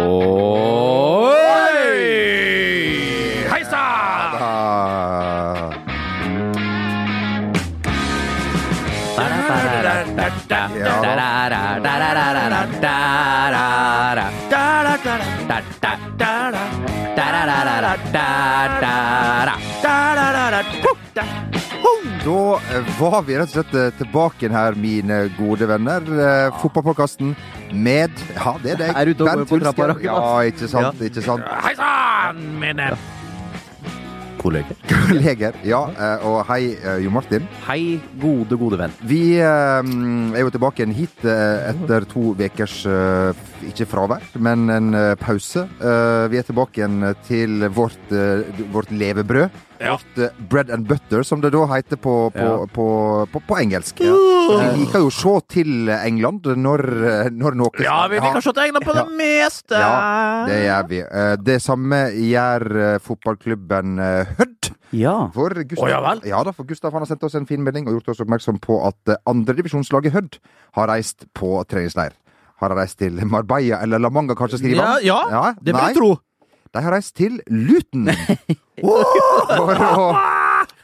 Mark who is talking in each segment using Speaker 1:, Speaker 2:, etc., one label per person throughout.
Speaker 1: おーいはい、スタート
Speaker 2: あ
Speaker 1: パラパララッタッタッタラララララララッタララ
Speaker 2: ダラダラ
Speaker 1: タッタッ
Speaker 2: ダラ
Speaker 1: タララララッタッタラ
Speaker 2: ダラララポッダda eh, var vi rett og slett eh, tilbake igjen her, mine gode venner. Eh, Fotballpodkasten med Ja, det er deg.
Speaker 3: Er ute og
Speaker 2: Bent
Speaker 3: går på trappa,
Speaker 2: Hulsker.
Speaker 3: Rakel,
Speaker 2: Ja, ikke sant, ikke sant.
Speaker 1: Hei sann, mine kolleger.
Speaker 2: Kolleger. Ja, eh, og hei, eh, Jo Martin.
Speaker 3: Hei, gode, gode venn.
Speaker 2: Vi eh, er jo tilbake igjen hit eh, etter to ukers eh, ikke fravær, men en eh, pause. Eh, vi er tilbake igjen til vårt, eh, vårt levebrød.
Speaker 1: Ja.
Speaker 2: Vårt eh, bread and butter, som det da heter på, på,
Speaker 3: Ja.
Speaker 2: på, på, på engelsk. Vi liker jo å se til England når, eh, når noe
Speaker 1: Ja, vi liker å se til England på det meste.
Speaker 2: Ja, det gjør vi. Eh, Det samme gjør eh, fotballklubben eh, Hødd.
Speaker 3: Ja.
Speaker 2: For Gustav,
Speaker 1: Å, ja vel.
Speaker 2: ja da, for Gustav han har sendt oss en fin melding og gjort oss oppmerksom på at eh, andredivisjonslaget Hødd har reist på treningsleir. Har de reist til Marbella eller La Manga, kanskje, skriver
Speaker 1: Ja,
Speaker 2: han?
Speaker 1: ja, det vil
Speaker 2: nei,
Speaker 1: jeg tro.
Speaker 2: De har reist til Luton! for å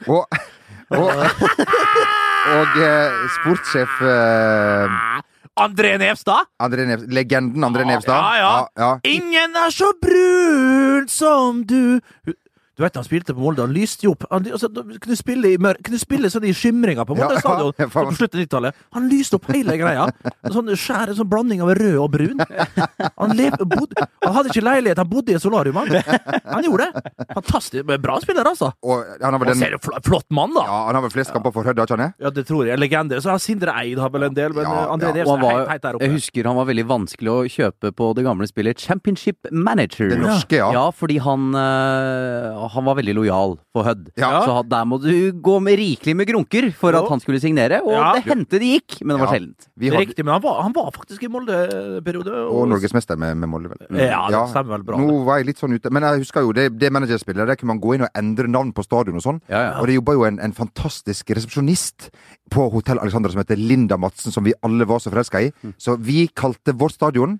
Speaker 2: Og, og, og, eh, sportssjef eh,
Speaker 1: André Nevstad.
Speaker 2: André Nev- legenden André Nevstad.
Speaker 1: Ja, ja. Ingen er så brun som du Du vet han spilte på Molde, han lyste jo opp. Han, altså, da kunne spille i mørk, kunne spille sånn i skimringa på Molde
Speaker 2: Ja,
Speaker 1: stadion
Speaker 2: ja, faen.
Speaker 1: på slutten av 90-tallet. Han lyste opp hele greia. En sånn skjær, en sånn blanding av rød og brun. Han, lev, bodde, han hadde ikke leilighet, han bodde i et solarium. Han, han gjorde det. Fantastisk. men Bra spiller, altså.
Speaker 2: Og han har vel
Speaker 1: Han
Speaker 2: den
Speaker 1: ser jo fl flott mann, da.
Speaker 2: ja, han har vel flest kamper for Hødd, har ikke han det?
Speaker 1: Ja, det tror jeg. En Legende. Så har Sindre Eid har vel en del, men
Speaker 2: Ja,
Speaker 1: eh, André
Speaker 2: ja.
Speaker 3: Og han
Speaker 1: Nevstad er helt,
Speaker 3: var,
Speaker 1: helt der
Speaker 3: jeg
Speaker 1: oppe.
Speaker 3: husker han var veldig vanskelig å kjøpe på det gamle spillet Championship Manager.
Speaker 2: Det norske, ja.
Speaker 3: Ja, fordi han, eh, han var veldig lojal for Hødd.
Speaker 2: Ja.
Speaker 3: Så han- der må du gå med rikelig med grunker for at han skulle signere, og
Speaker 1: Ja.
Speaker 3: det hendte det gikk, men det var
Speaker 2: Ja.
Speaker 3: sjeldent.
Speaker 2: Vi hadde,
Speaker 1: Riktig, men han var, han var faktisk i Molde-periode.
Speaker 2: og norgesmester med, med Molde, vel. Mm.
Speaker 1: Ja, det stemmer vel bra.
Speaker 2: Nå var jeg litt sånn ute, men jeg husker jo det, det managerspillet. Der kunne man gå inn og endre navn på stadion og sånn.
Speaker 3: Ja, ja.
Speaker 2: Og det jobba jo en, en fantastisk resepsjonist på Hotell Alexandra som heter Linda Madsen, som vi alle var så forelska i.
Speaker 1: Mm.
Speaker 2: Så vi kalte vårt stadion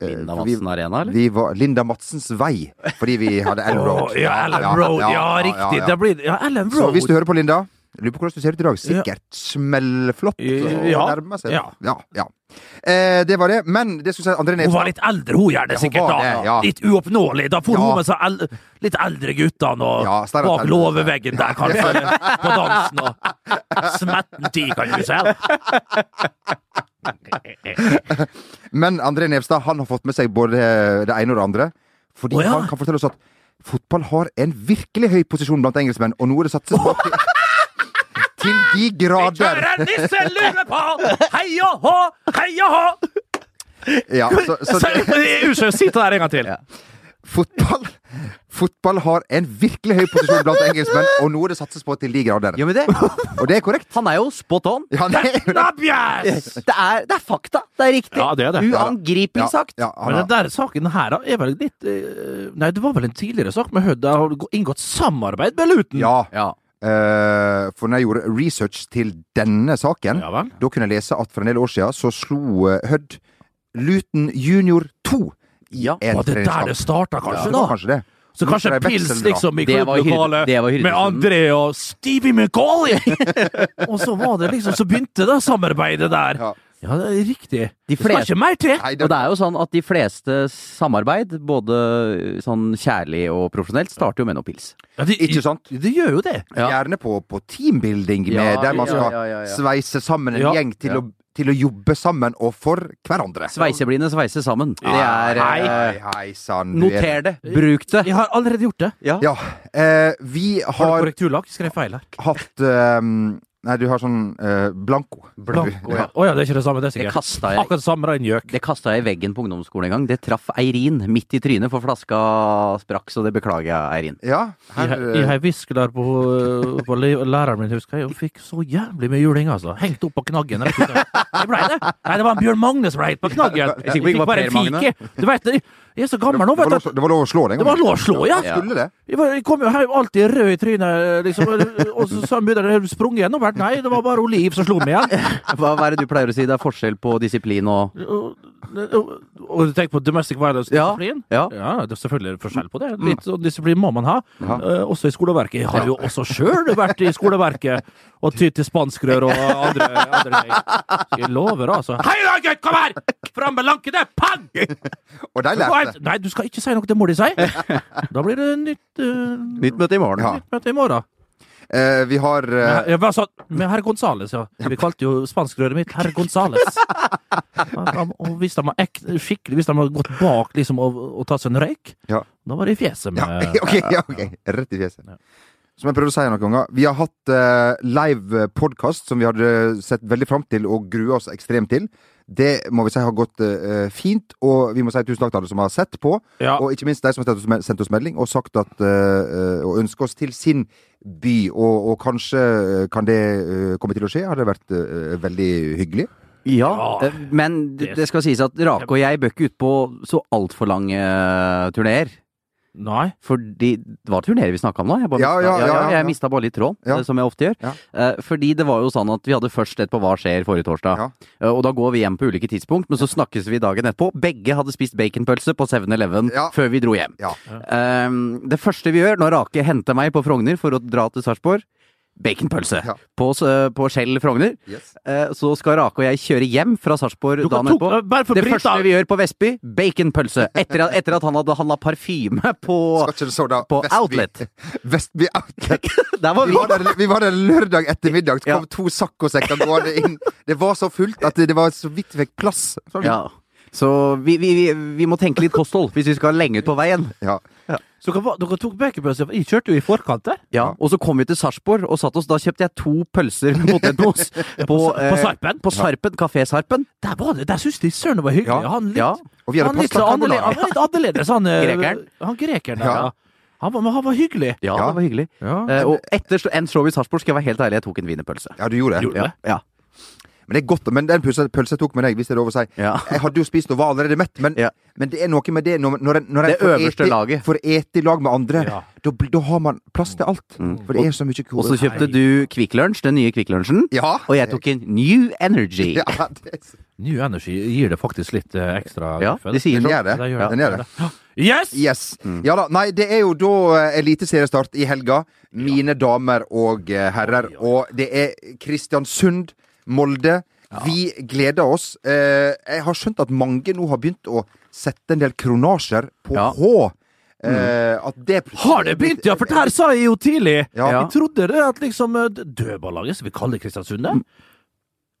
Speaker 2: eh,
Speaker 3: Linda
Speaker 2: for vi-
Speaker 3: Madsen Arena, eller?
Speaker 2: Vi var Linda Madsens vei, fordi vi hadde Ellen Road.
Speaker 1: Åh, ja, Ellen Road. Ja, riktig.
Speaker 2: ja.
Speaker 1: Da blir det ja, Ellen
Speaker 2: Så
Speaker 1: Road.
Speaker 2: hvis du hører på Linda, lurer på hvordan du ser ut i dag. Sikkert smellflott. Og
Speaker 1: Ja.
Speaker 2: nærmer seg.
Speaker 1: Ja.
Speaker 2: Ja, ja. Eh, det var det. Men det skulle jeg si André
Speaker 1: hun var
Speaker 2: Nevstad
Speaker 1: litt eldre, hun gjerne,
Speaker 2: Ja, hun
Speaker 1: sikkert.
Speaker 2: var
Speaker 1: da
Speaker 2: det, ja.
Speaker 1: Litt uoppnåelig. Da får
Speaker 2: Ja.
Speaker 1: hun med seg el litt eldre guttene og
Speaker 2: Ja, Steinar
Speaker 1: bak
Speaker 2: Tellefsen.
Speaker 1: låveveggen der, kanskje. eller På dansen og Smetten tid, kan du si.
Speaker 2: Men André Nevstad han har fått med seg både det ene og det andre. Fordi
Speaker 1: Å, ja.
Speaker 2: han kan fortelle oss at fotball har en virkelig høy posisjon blant engelskmenn, og nå er det satset på Til de grader!
Speaker 1: Kjære nisselue på! Heia hå! Heia hå!
Speaker 2: Ja, så, så det,
Speaker 1: Unnskyld, si det der en gang til.
Speaker 2: fotball, fotball har en virkelig høy posisjon blant engelskmenn, og nå er det satses på til de grader.
Speaker 3: Ja, men det,
Speaker 2: Og det er korrekt.
Speaker 3: han er jo spot on.
Speaker 2: Ja, det er jo det.
Speaker 1: Nabjas!
Speaker 3: Det er, det er fakta. Det er riktig.
Speaker 1: Ja, det er det.
Speaker 3: Uangripelig
Speaker 2: Ja,
Speaker 3: sagt.
Speaker 2: ja, han
Speaker 1: Men den
Speaker 2: har-
Speaker 1: der saken her da, er vel litt eh, Nei, det var vel en tidligere sak med Hødd. Der har det gå- inngått samarbeid med Luton.
Speaker 2: ja.
Speaker 3: Ja.
Speaker 2: Eh, for når jeg gjorde research til denne saken,
Speaker 1: Ja vel.
Speaker 2: da kunne jeg lese at for en del år siden så slo eh, Hødd Luton Junior 2 i
Speaker 3: Ja.
Speaker 2: en
Speaker 1: Var det der det
Speaker 2: treningskamp.
Speaker 1: starta,
Speaker 2: Ja,
Speaker 1: kanskje?
Speaker 2: det
Speaker 1: da?
Speaker 2: var kanskje det.
Speaker 1: Så
Speaker 2: Luton
Speaker 1: kanskje
Speaker 2: er
Speaker 1: pils
Speaker 2: vekselbra.
Speaker 1: liksom i
Speaker 3: Det var hyrde-
Speaker 1: klubblokalet
Speaker 3: det var hyrdestunden.
Speaker 1: med André og Stevie McCauley! og så var det liksom Så begynte det samarbeidet der.
Speaker 2: Ja.
Speaker 1: Ja, det er riktig.
Speaker 3: De
Speaker 1: Det skal
Speaker 3: fleste
Speaker 1: ikke mer til!
Speaker 2: Nei, det,
Speaker 3: Og det er jo sånn at de fleste samarbeid, både sånn kjærlig og profesjonelt, starter jo med noe pils.
Speaker 1: Ja, de,
Speaker 2: Ikke sant?
Speaker 1: Det gjør jo det.
Speaker 3: Ja.
Speaker 2: Gjerne på, på teambuilding, med,
Speaker 3: Ja,
Speaker 2: der man
Speaker 3: ja,
Speaker 2: skal
Speaker 3: ja, ja, ja.
Speaker 2: sveise sammen en
Speaker 1: Ja.
Speaker 2: gjeng til, å, til å jobbe sammen og for hverandre.
Speaker 3: Sveiseblinde sveiser sammen. Det er
Speaker 1: Nei.
Speaker 3: eh,
Speaker 2: Hei, hei sann. du er-
Speaker 3: Noter det. Bruk det.
Speaker 1: Jeg har allerede gjort det.
Speaker 2: Ja. eh, vi
Speaker 1: Har du
Speaker 2: har
Speaker 1: korrekturlakk? Skrev feil her.
Speaker 2: hatt eh, Nei, du har sånn eh, blanko.
Speaker 3: Blanko,
Speaker 2: Du-
Speaker 3: ja.
Speaker 1: Å ja, det er ikke det samme. Det er
Speaker 3: Det
Speaker 1: sikkert.
Speaker 3: kasta jeg,
Speaker 1: Akkurat det samme, da, en gjøk.
Speaker 3: det kastet jeg i veggen på ungdomsskolen en gang. Det traff Eirin midt i trynet, for flaska sprakk, så det beklager jeg, Eirin.
Speaker 2: Ja, her,
Speaker 1: Jeg, jeg har hvisket der på, på le- læreren min, husker jeg, og fikk så jævlig mye juling, altså. Hengt opp på knaggen. Rett ut. Det ble det. Nei, det var en Bjørn Magne som ble hengt på knaggen.
Speaker 3: Jeg er sikker
Speaker 1: fikk
Speaker 3: på ikke det var
Speaker 1: bare
Speaker 3: Per Magne.
Speaker 1: fike. Du vet, det, jeg er så gammel nå,
Speaker 2: det, var
Speaker 1: vet
Speaker 2: lov,
Speaker 1: du.
Speaker 2: det var lov å slå den
Speaker 1: Det var lov å slå, ja.
Speaker 2: Ja, skulle det?
Speaker 1: Jeg, var, jeg kom jo hjem alltid rød i trynet, liksom. Og så sa mutter'n har du sprunget gjennom hvert? Nei, det var bare Liv som slo meg igjen.
Speaker 3: Hva, hva er det du pleier å si? Det er forskjell på disiplin og
Speaker 1: Og, og, Og du tenker på domestic
Speaker 3: Ja.
Speaker 1: violence-disiplin?
Speaker 3: Ja. Mm.
Speaker 1: det er selvfølgelig forskjell på det. Litt sånn disiplin må man ha. Eh, også i skoleverket. Jeg har jo også sjøl vært i skoleverket og tydd til spanskrør og andre, andre ting. Jeg lover, altså. Hei da, gutt! Kom her! Fram med lankene! Pang!
Speaker 2: Og de
Speaker 1: Gå
Speaker 2: lærte.
Speaker 1: hent- Nei, du skal ikke si noe, det må de si. Da blir det nytt eh,
Speaker 3: Nytt møte i morgen.
Speaker 2: Ja.
Speaker 1: nytt møte i morgen.
Speaker 2: Eh, vi har eh,
Speaker 1: Men, jeg var sånn, men herr Gonzales, ja. Vi kalte jo spanskrøret mitt herr Gonzales. Og hvis de har ekte, skikkelig, hvis de har gått bak liksom, og, og tatt seg en røyk,
Speaker 2: Ja.
Speaker 1: da var det i fjeset
Speaker 2: Ja,
Speaker 1: med
Speaker 2: ok, ja, ok. Rett i fjeset.
Speaker 1: Ja.
Speaker 2: Som jeg prøvde å si noen ganger, vi har hatt eh, live podkast som vi hadde eh, sett veldig fram til og grua oss ekstremt til. Det må vi si har gått eh, fint, og vi må si tusen takk til alle som har sett på.
Speaker 1: Ja.
Speaker 2: Og ikke minst de som har sendt oss- sendt oss melding og sagt at eh, eh, Og ønsker oss til sin by. Og, og kanskje eh, kan det eh, komme til å skje. Hadde vært eh, veldig hyggelig.
Speaker 3: Ja,
Speaker 1: Ja.
Speaker 3: eh, men det det skal sies at Rake og jeg bøk ut på så altfor lange eh, turneer.
Speaker 1: Nei.
Speaker 3: Fordi det var turneer vi snakka om da. Jeg, bare
Speaker 2: Ja,
Speaker 3: mistet-
Speaker 2: ja, ja, ja, ja.
Speaker 3: jeg mista bare litt tråden,
Speaker 2: Ja.
Speaker 3: eh, som jeg ofte gjør.
Speaker 2: Ja.
Speaker 3: Eh, Fordi det var jo sånn at vi hadde først et på Hva skjer forrige torsdag.
Speaker 2: Ja.
Speaker 3: Eh, Og da går vi hjem på ulike tidspunkt, men så snakkes vi dagen etterpå. Begge hadde spist baconpølse på 7-Eleven
Speaker 2: Ja.
Speaker 3: før vi dro hjem.
Speaker 2: Ja.
Speaker 3: Eh, det første vi gjør når Rake henter meg på Frogner for å dra til Sarpsborg, baconpølse
Speaker 2: Ja.
Speaker 3: på, s- på Skjell Frogner. Eh, Så skal Rake og jeg kjøre hjem fra Sarpsborg
Speaker 1: Du kan
Speaker 3: dagen
Speaker 1: tok,
Speaker 3: etterpå.
Speaker 2: eh,
Speaker 1: bare for
Speaker 3: Det
Speaker 1: bryt,
Speaker 3: første
Speaker 1: da.
Speaker 3: vi gjør på Vestby, baconpølse. Etter, at- etter at han hadde handla parfyme på
Speaker 2: Skal ikke det så da
Speaker 3: På
Speaker 2: Vestby-
Speaker 3: Outlet.
Speaker 2: Vestby Outlet.
Speaker 3: Der var
Speaker 2: Vi
Speaker 3: vi!
Speaker 2: var, der, vi var der lørdag ettermiddag, så kom to saccosekker gående inn. Det var så fullt at det var så vidt vi fikk plass. Sånn.
Speaker 3: Ja. Så vi, vi, vi, vi må tenke litt kosthold hvis vi skal lenge ut på veien.
Speaker 2: Ja.
Speaker 1: Så dere, var- dere tok baconpølse Jeg kjørte jo i forkant der.
Speaker 3: Ja, Og så kom vi til Sarpsborg og satt oss. Da kjøpte jeg to pølser med potetmos på,
Speaker 2: eh,
Speaker 1: På Sarpen.
Speaker 3: På Sarpen, Kafé Sarpen.
Speaker 1: Der var det, der syntes de søren det var hyggelig.
Speaker 2: Ja.
Speaker 1: Han litt,
Speaker 3: Ja.
Speaker 2: Og vi hadde
Speaker 1: han litt,
Speaker 2: pasta
Speaker 1: annerle-
Speaker 2: carbonara.
Speaker 1: han var litt annerledes, han eh,
Speaker 3: Grekeren.
Speaker 1: Han grekeren der,
Speaker 2: Ja.
Speaker 1: ja. Han, var- men han var hyggelig.
Speaker 3: Ja,
Speaker 2: Ja.
Speaker 3: det var hyggelig.
Speaker 1: Ja.
Speaker 3: Eh, og etter sl- en show i Sarpsborg skal jeg være helt ærlig, jeg tok en wienerpølse.
Speaker 2: Ja, du gjorde det.
Speaker 1: Gjorde
Speaker 3: Ja,
Speaker 1: det?
Speaker 3: ja,
Speaker 2: Men det er godt, men den pølsa pølsa jeg tok med deg, hvis det er lov å si
Speaker 3: ja.
Speaker 2: Jeg hadde jo spist og var allerede mett, men,
Speaker 3: Ja.
Speaker 2: men det er noe med det når, når en, når en
Speaker 3: Det øverste
Speaker 2: ete-
Speaker 3: laget.
Speaker 2: får ete i lag med andre.
Speaker 1: Ja.
Speaker 2: Da, bl- da har man plass til alt.
Speaker 3: Mm.
Speaker 2: For det er så mye
Speaker 3: Og så
Speaker 2: kode.
Speaker 3: kjøpte du Kvikk Lunsj, den nye Kvikk Lunsjen.
Speaker 2: Ja.
Speaker 3: Og jeg tok en New Energy.
Speaker 2: ja, det er så-
Speaker 1: New Energy gir det faktisk litt eh, ekstra
Speaker 3: Ja,
Speaker 1: guffe.
Speaker 3: de sier
Speaker 2: Den
Speaker 3: sånn.
Speaker 2: gjør det.
Speaker 1: Ja, det
Speaker 2: Den gjør det.
Speaker 1: Yes!
Speaker 2: Yes.
Speaker 1: Mm.
Speaker 2: Ja da. Nei, det er jo da eh, eliteseriestart i helga. Mine damer og eh, herrer. Og det er Kristiansund, Molde. Vi gleder oss. Eh, Jeg har skjønt at mange nå har begynt å sette en del kronasjer på
Speaker 3: Ja.
Speaker 2: H. Eh, At det
Speaker 1: Mm. Har det begynt, ja? For det her sa jeg jo tidlig.
Speaker 2: Ja.
Speaker 1: Jeg trodde det at liksom eh, d- dødballaget, som vi kaller Kristiansund
Speaker 3: Mm.
Speaker 1: det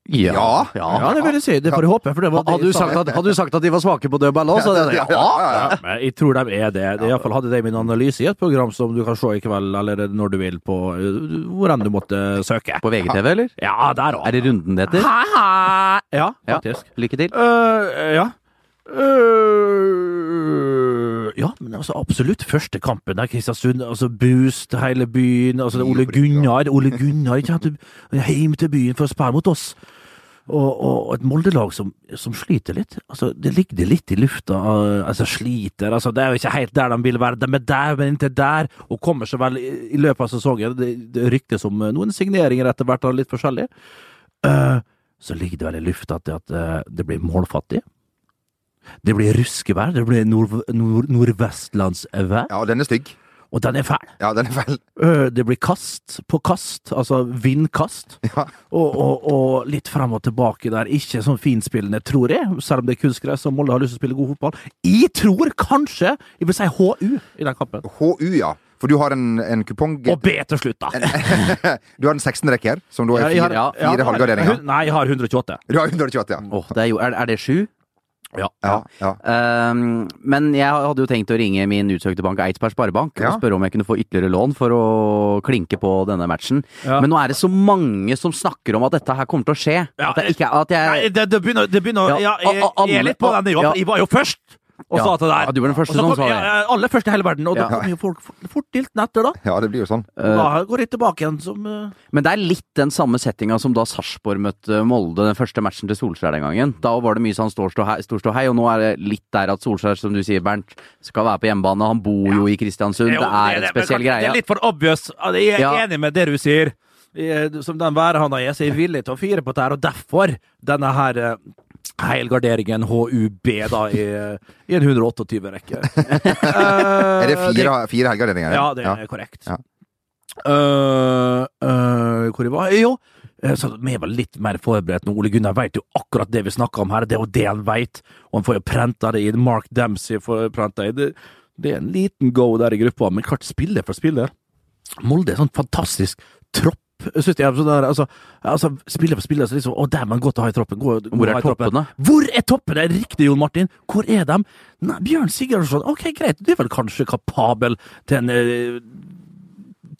Speaker 2: Ja.
Speaker 1: Ja, det vil jeg si. Det får jeg håpe. For det var det
Speaker 3: Hadde du,
Speaker 1: jeg sa.
Speaker 3: sagt at, hadde du sagt at de var svake på dødball òg, så hadde jeg
Speaker 2: Ja,
Speaker 3: sagt ja.
Speaker 2: ja, ja.
Speaker 1: Ja, men jeg tror de er det. det Iallfall hadde de min analyse i et program som du kan se i kveld, eller når du vil, på eh, hvor enn du måtte søke.
Speaker 3: På VGTV, eller?
Speaker 1: Ja, der
Speaker 3: Er
Speaker 1: òg.
Speaker 3: det runden det heter?
Speaker 1: Ja,
Speaker 3: Ja.
Speaker 1: faktisk.
Speaker 3: Lykke til.
Speaker 1: Eh, ja. Eh, ja, men altså absolutt første kampen der, Kristiansund. Altså Boost, hele byen. Altså det er Ole Gunnar. Ole Gunnar ikke sant? heim til byen for å spille mot oss. Og, og og et Molde-lag som, som sliter litt. Altså, det ligger det litt i lufta. eh, Altså, sliter. Altså, det er jo ikke helt der de vil være. De er der, men ikke der. Og kommer seg vel i, i løpet av sesongen. Det, det ryktes om eh, noen signeringer etter hvert, og litt forskjellig. Eh, så ligger det vel i lufta at, at eh, det blir målfattig. Det blir ruskevær, det blir nord, nord, nordvestlandsvær,
Speaker 2: Ja, den er stygg.
Speaker 1: og den er fæl.
Speaker 2: Ja, den er vel
Speaker 1: Eh, Det blir kast på kast, altså vindkast,
Speaker 2: ja.
Speaker 1: og, og, og litt frem og tilbake der. Ikke sånn finspillende, tror jeg, selv om det er kunstgress og Molde har lyst til å spille god fotball. Jeg tror kanskje jeg vil si HU i den kampen.
Speaker 2: HU, ja. For du har en, en kupong
Speaker 1: Og B til slutt, da.
Speaker 2: Du har en 16-rekke her, som da er
Speaker 1: Jeg
Speaker 2: fire,
Speaker 1: har- ja,
Speaker 2: fire
Speaker 1: jeg har-
Speaker 2: halvgarderinger.
Speaker 1: Nei, jeg har 128.
Speaker 2: Du har 128, ja.
Speaker 3: Åh, det er, jo, er, er det sju?
Speaker 1: Ja.
Speaker 2: ja, ja.
Speaker 3: Ehm, men jeg hadde jo tenkt å ringe min utsøkte bank Eidsberg Sparebank
Speaker 2: Ja.
Speaker 3: og spørre om jeg kunne få ytterligere lån for å klinke på denne matchen.
Speaker 1: Ja.
Speaker 3: Men nå er det så mange som snakker om at dette her kommer til å skje.
Speaker 1: Ja.
Speaker 3: At, det ikke, er- at jeg
Speaker 1: Nei, det, det begynner, det begynner
Speaker 3: Ja,
Speaker 1: ja, jeg,
Speaker 3: a- a-
Speaker 1: jeg er litt på
Speaker 3: alle-
Speaker 1: den. Jeg var,
Speaker 3: ja.
Speaker 1: jeg var jo først og
Speaker 3: Ja.
Speaker 1: sa at det der.
Speaker 3: Ja, du var den første
Speaker 1: Og så
Speaker 3: som
Speaker 1: kom-
Speaker 3: sa det.
Speaker 1: Ja, ja, alle først i hele verden. Og
Speaker 3: Ja. Eh.
Speaker 1: da kommer jo folk fort, fort diltende etter, da.
Speaker 2: ja, det blir jo sånn.
Speaker 1: Og Da går jeg tilbake igjen som eh,
Speaker 3: Men det er litt den samme settinga som da Sarpsborg møtte Molde den første matchen til Solskjær den gangen. Da var det mye sånn stor stå hei, stor stå hei og nå er det litt der at Solskjær, som du sier, Bernt, skal være på hjemmebane. Han bor jo i Kristiansund.
Speaker 1: jo,
Speaker 3: Det er en
Speaker 1: men
Speaker 3: spesiell
Speaker 1: kan- Det
Speaker 3: greie.
Speaker 1: er litt for obvious. Ja, Jeg er
Speaker 3: Ja.
Speaker 1: enig med det du sier. Jeg er- Som den værhanda jeg er, så er jeg villig til å fire på det her, og derfor denne her eh, Heilgarderingen HUB, da, i, eh, i en 128-rekke. Eh,
Speaker 2: Er det fire, fire helger denne gangen?
Speaker 1: Ja, det er korrekt.
Speaker 2: Ja.
Speaker 1: Eh, eh, hvor jeg var Jo, eh, så vi var litt mer forberedt nå. Ole Gunnar vet jo akkurat det vi snakker om her. Det er jo det han vet, og han får jo prenta det inn. Mark Dempsey får prenta inn. Det, det er en liten go der i gruppa, men klart spiller for spiller. Molde er sånn fantastisk tropp. Synes jeg, sånn der, altså, altså, spiller for spiller, så liksom Å, der man godt å ha i troppen. God, god
Speaker 3: Hvor
Speaker 1: å
Speaker 3: er
Speaker 1: ha i troppen.
Speaker 3: toppene?
Speaker 1: Hvor er toppen? Det er riktig, Jon Martin. Hvor er de? Nei, Bjørn Sigurdsson. Ok, greit, du er vel kanskje kapabel til en eh,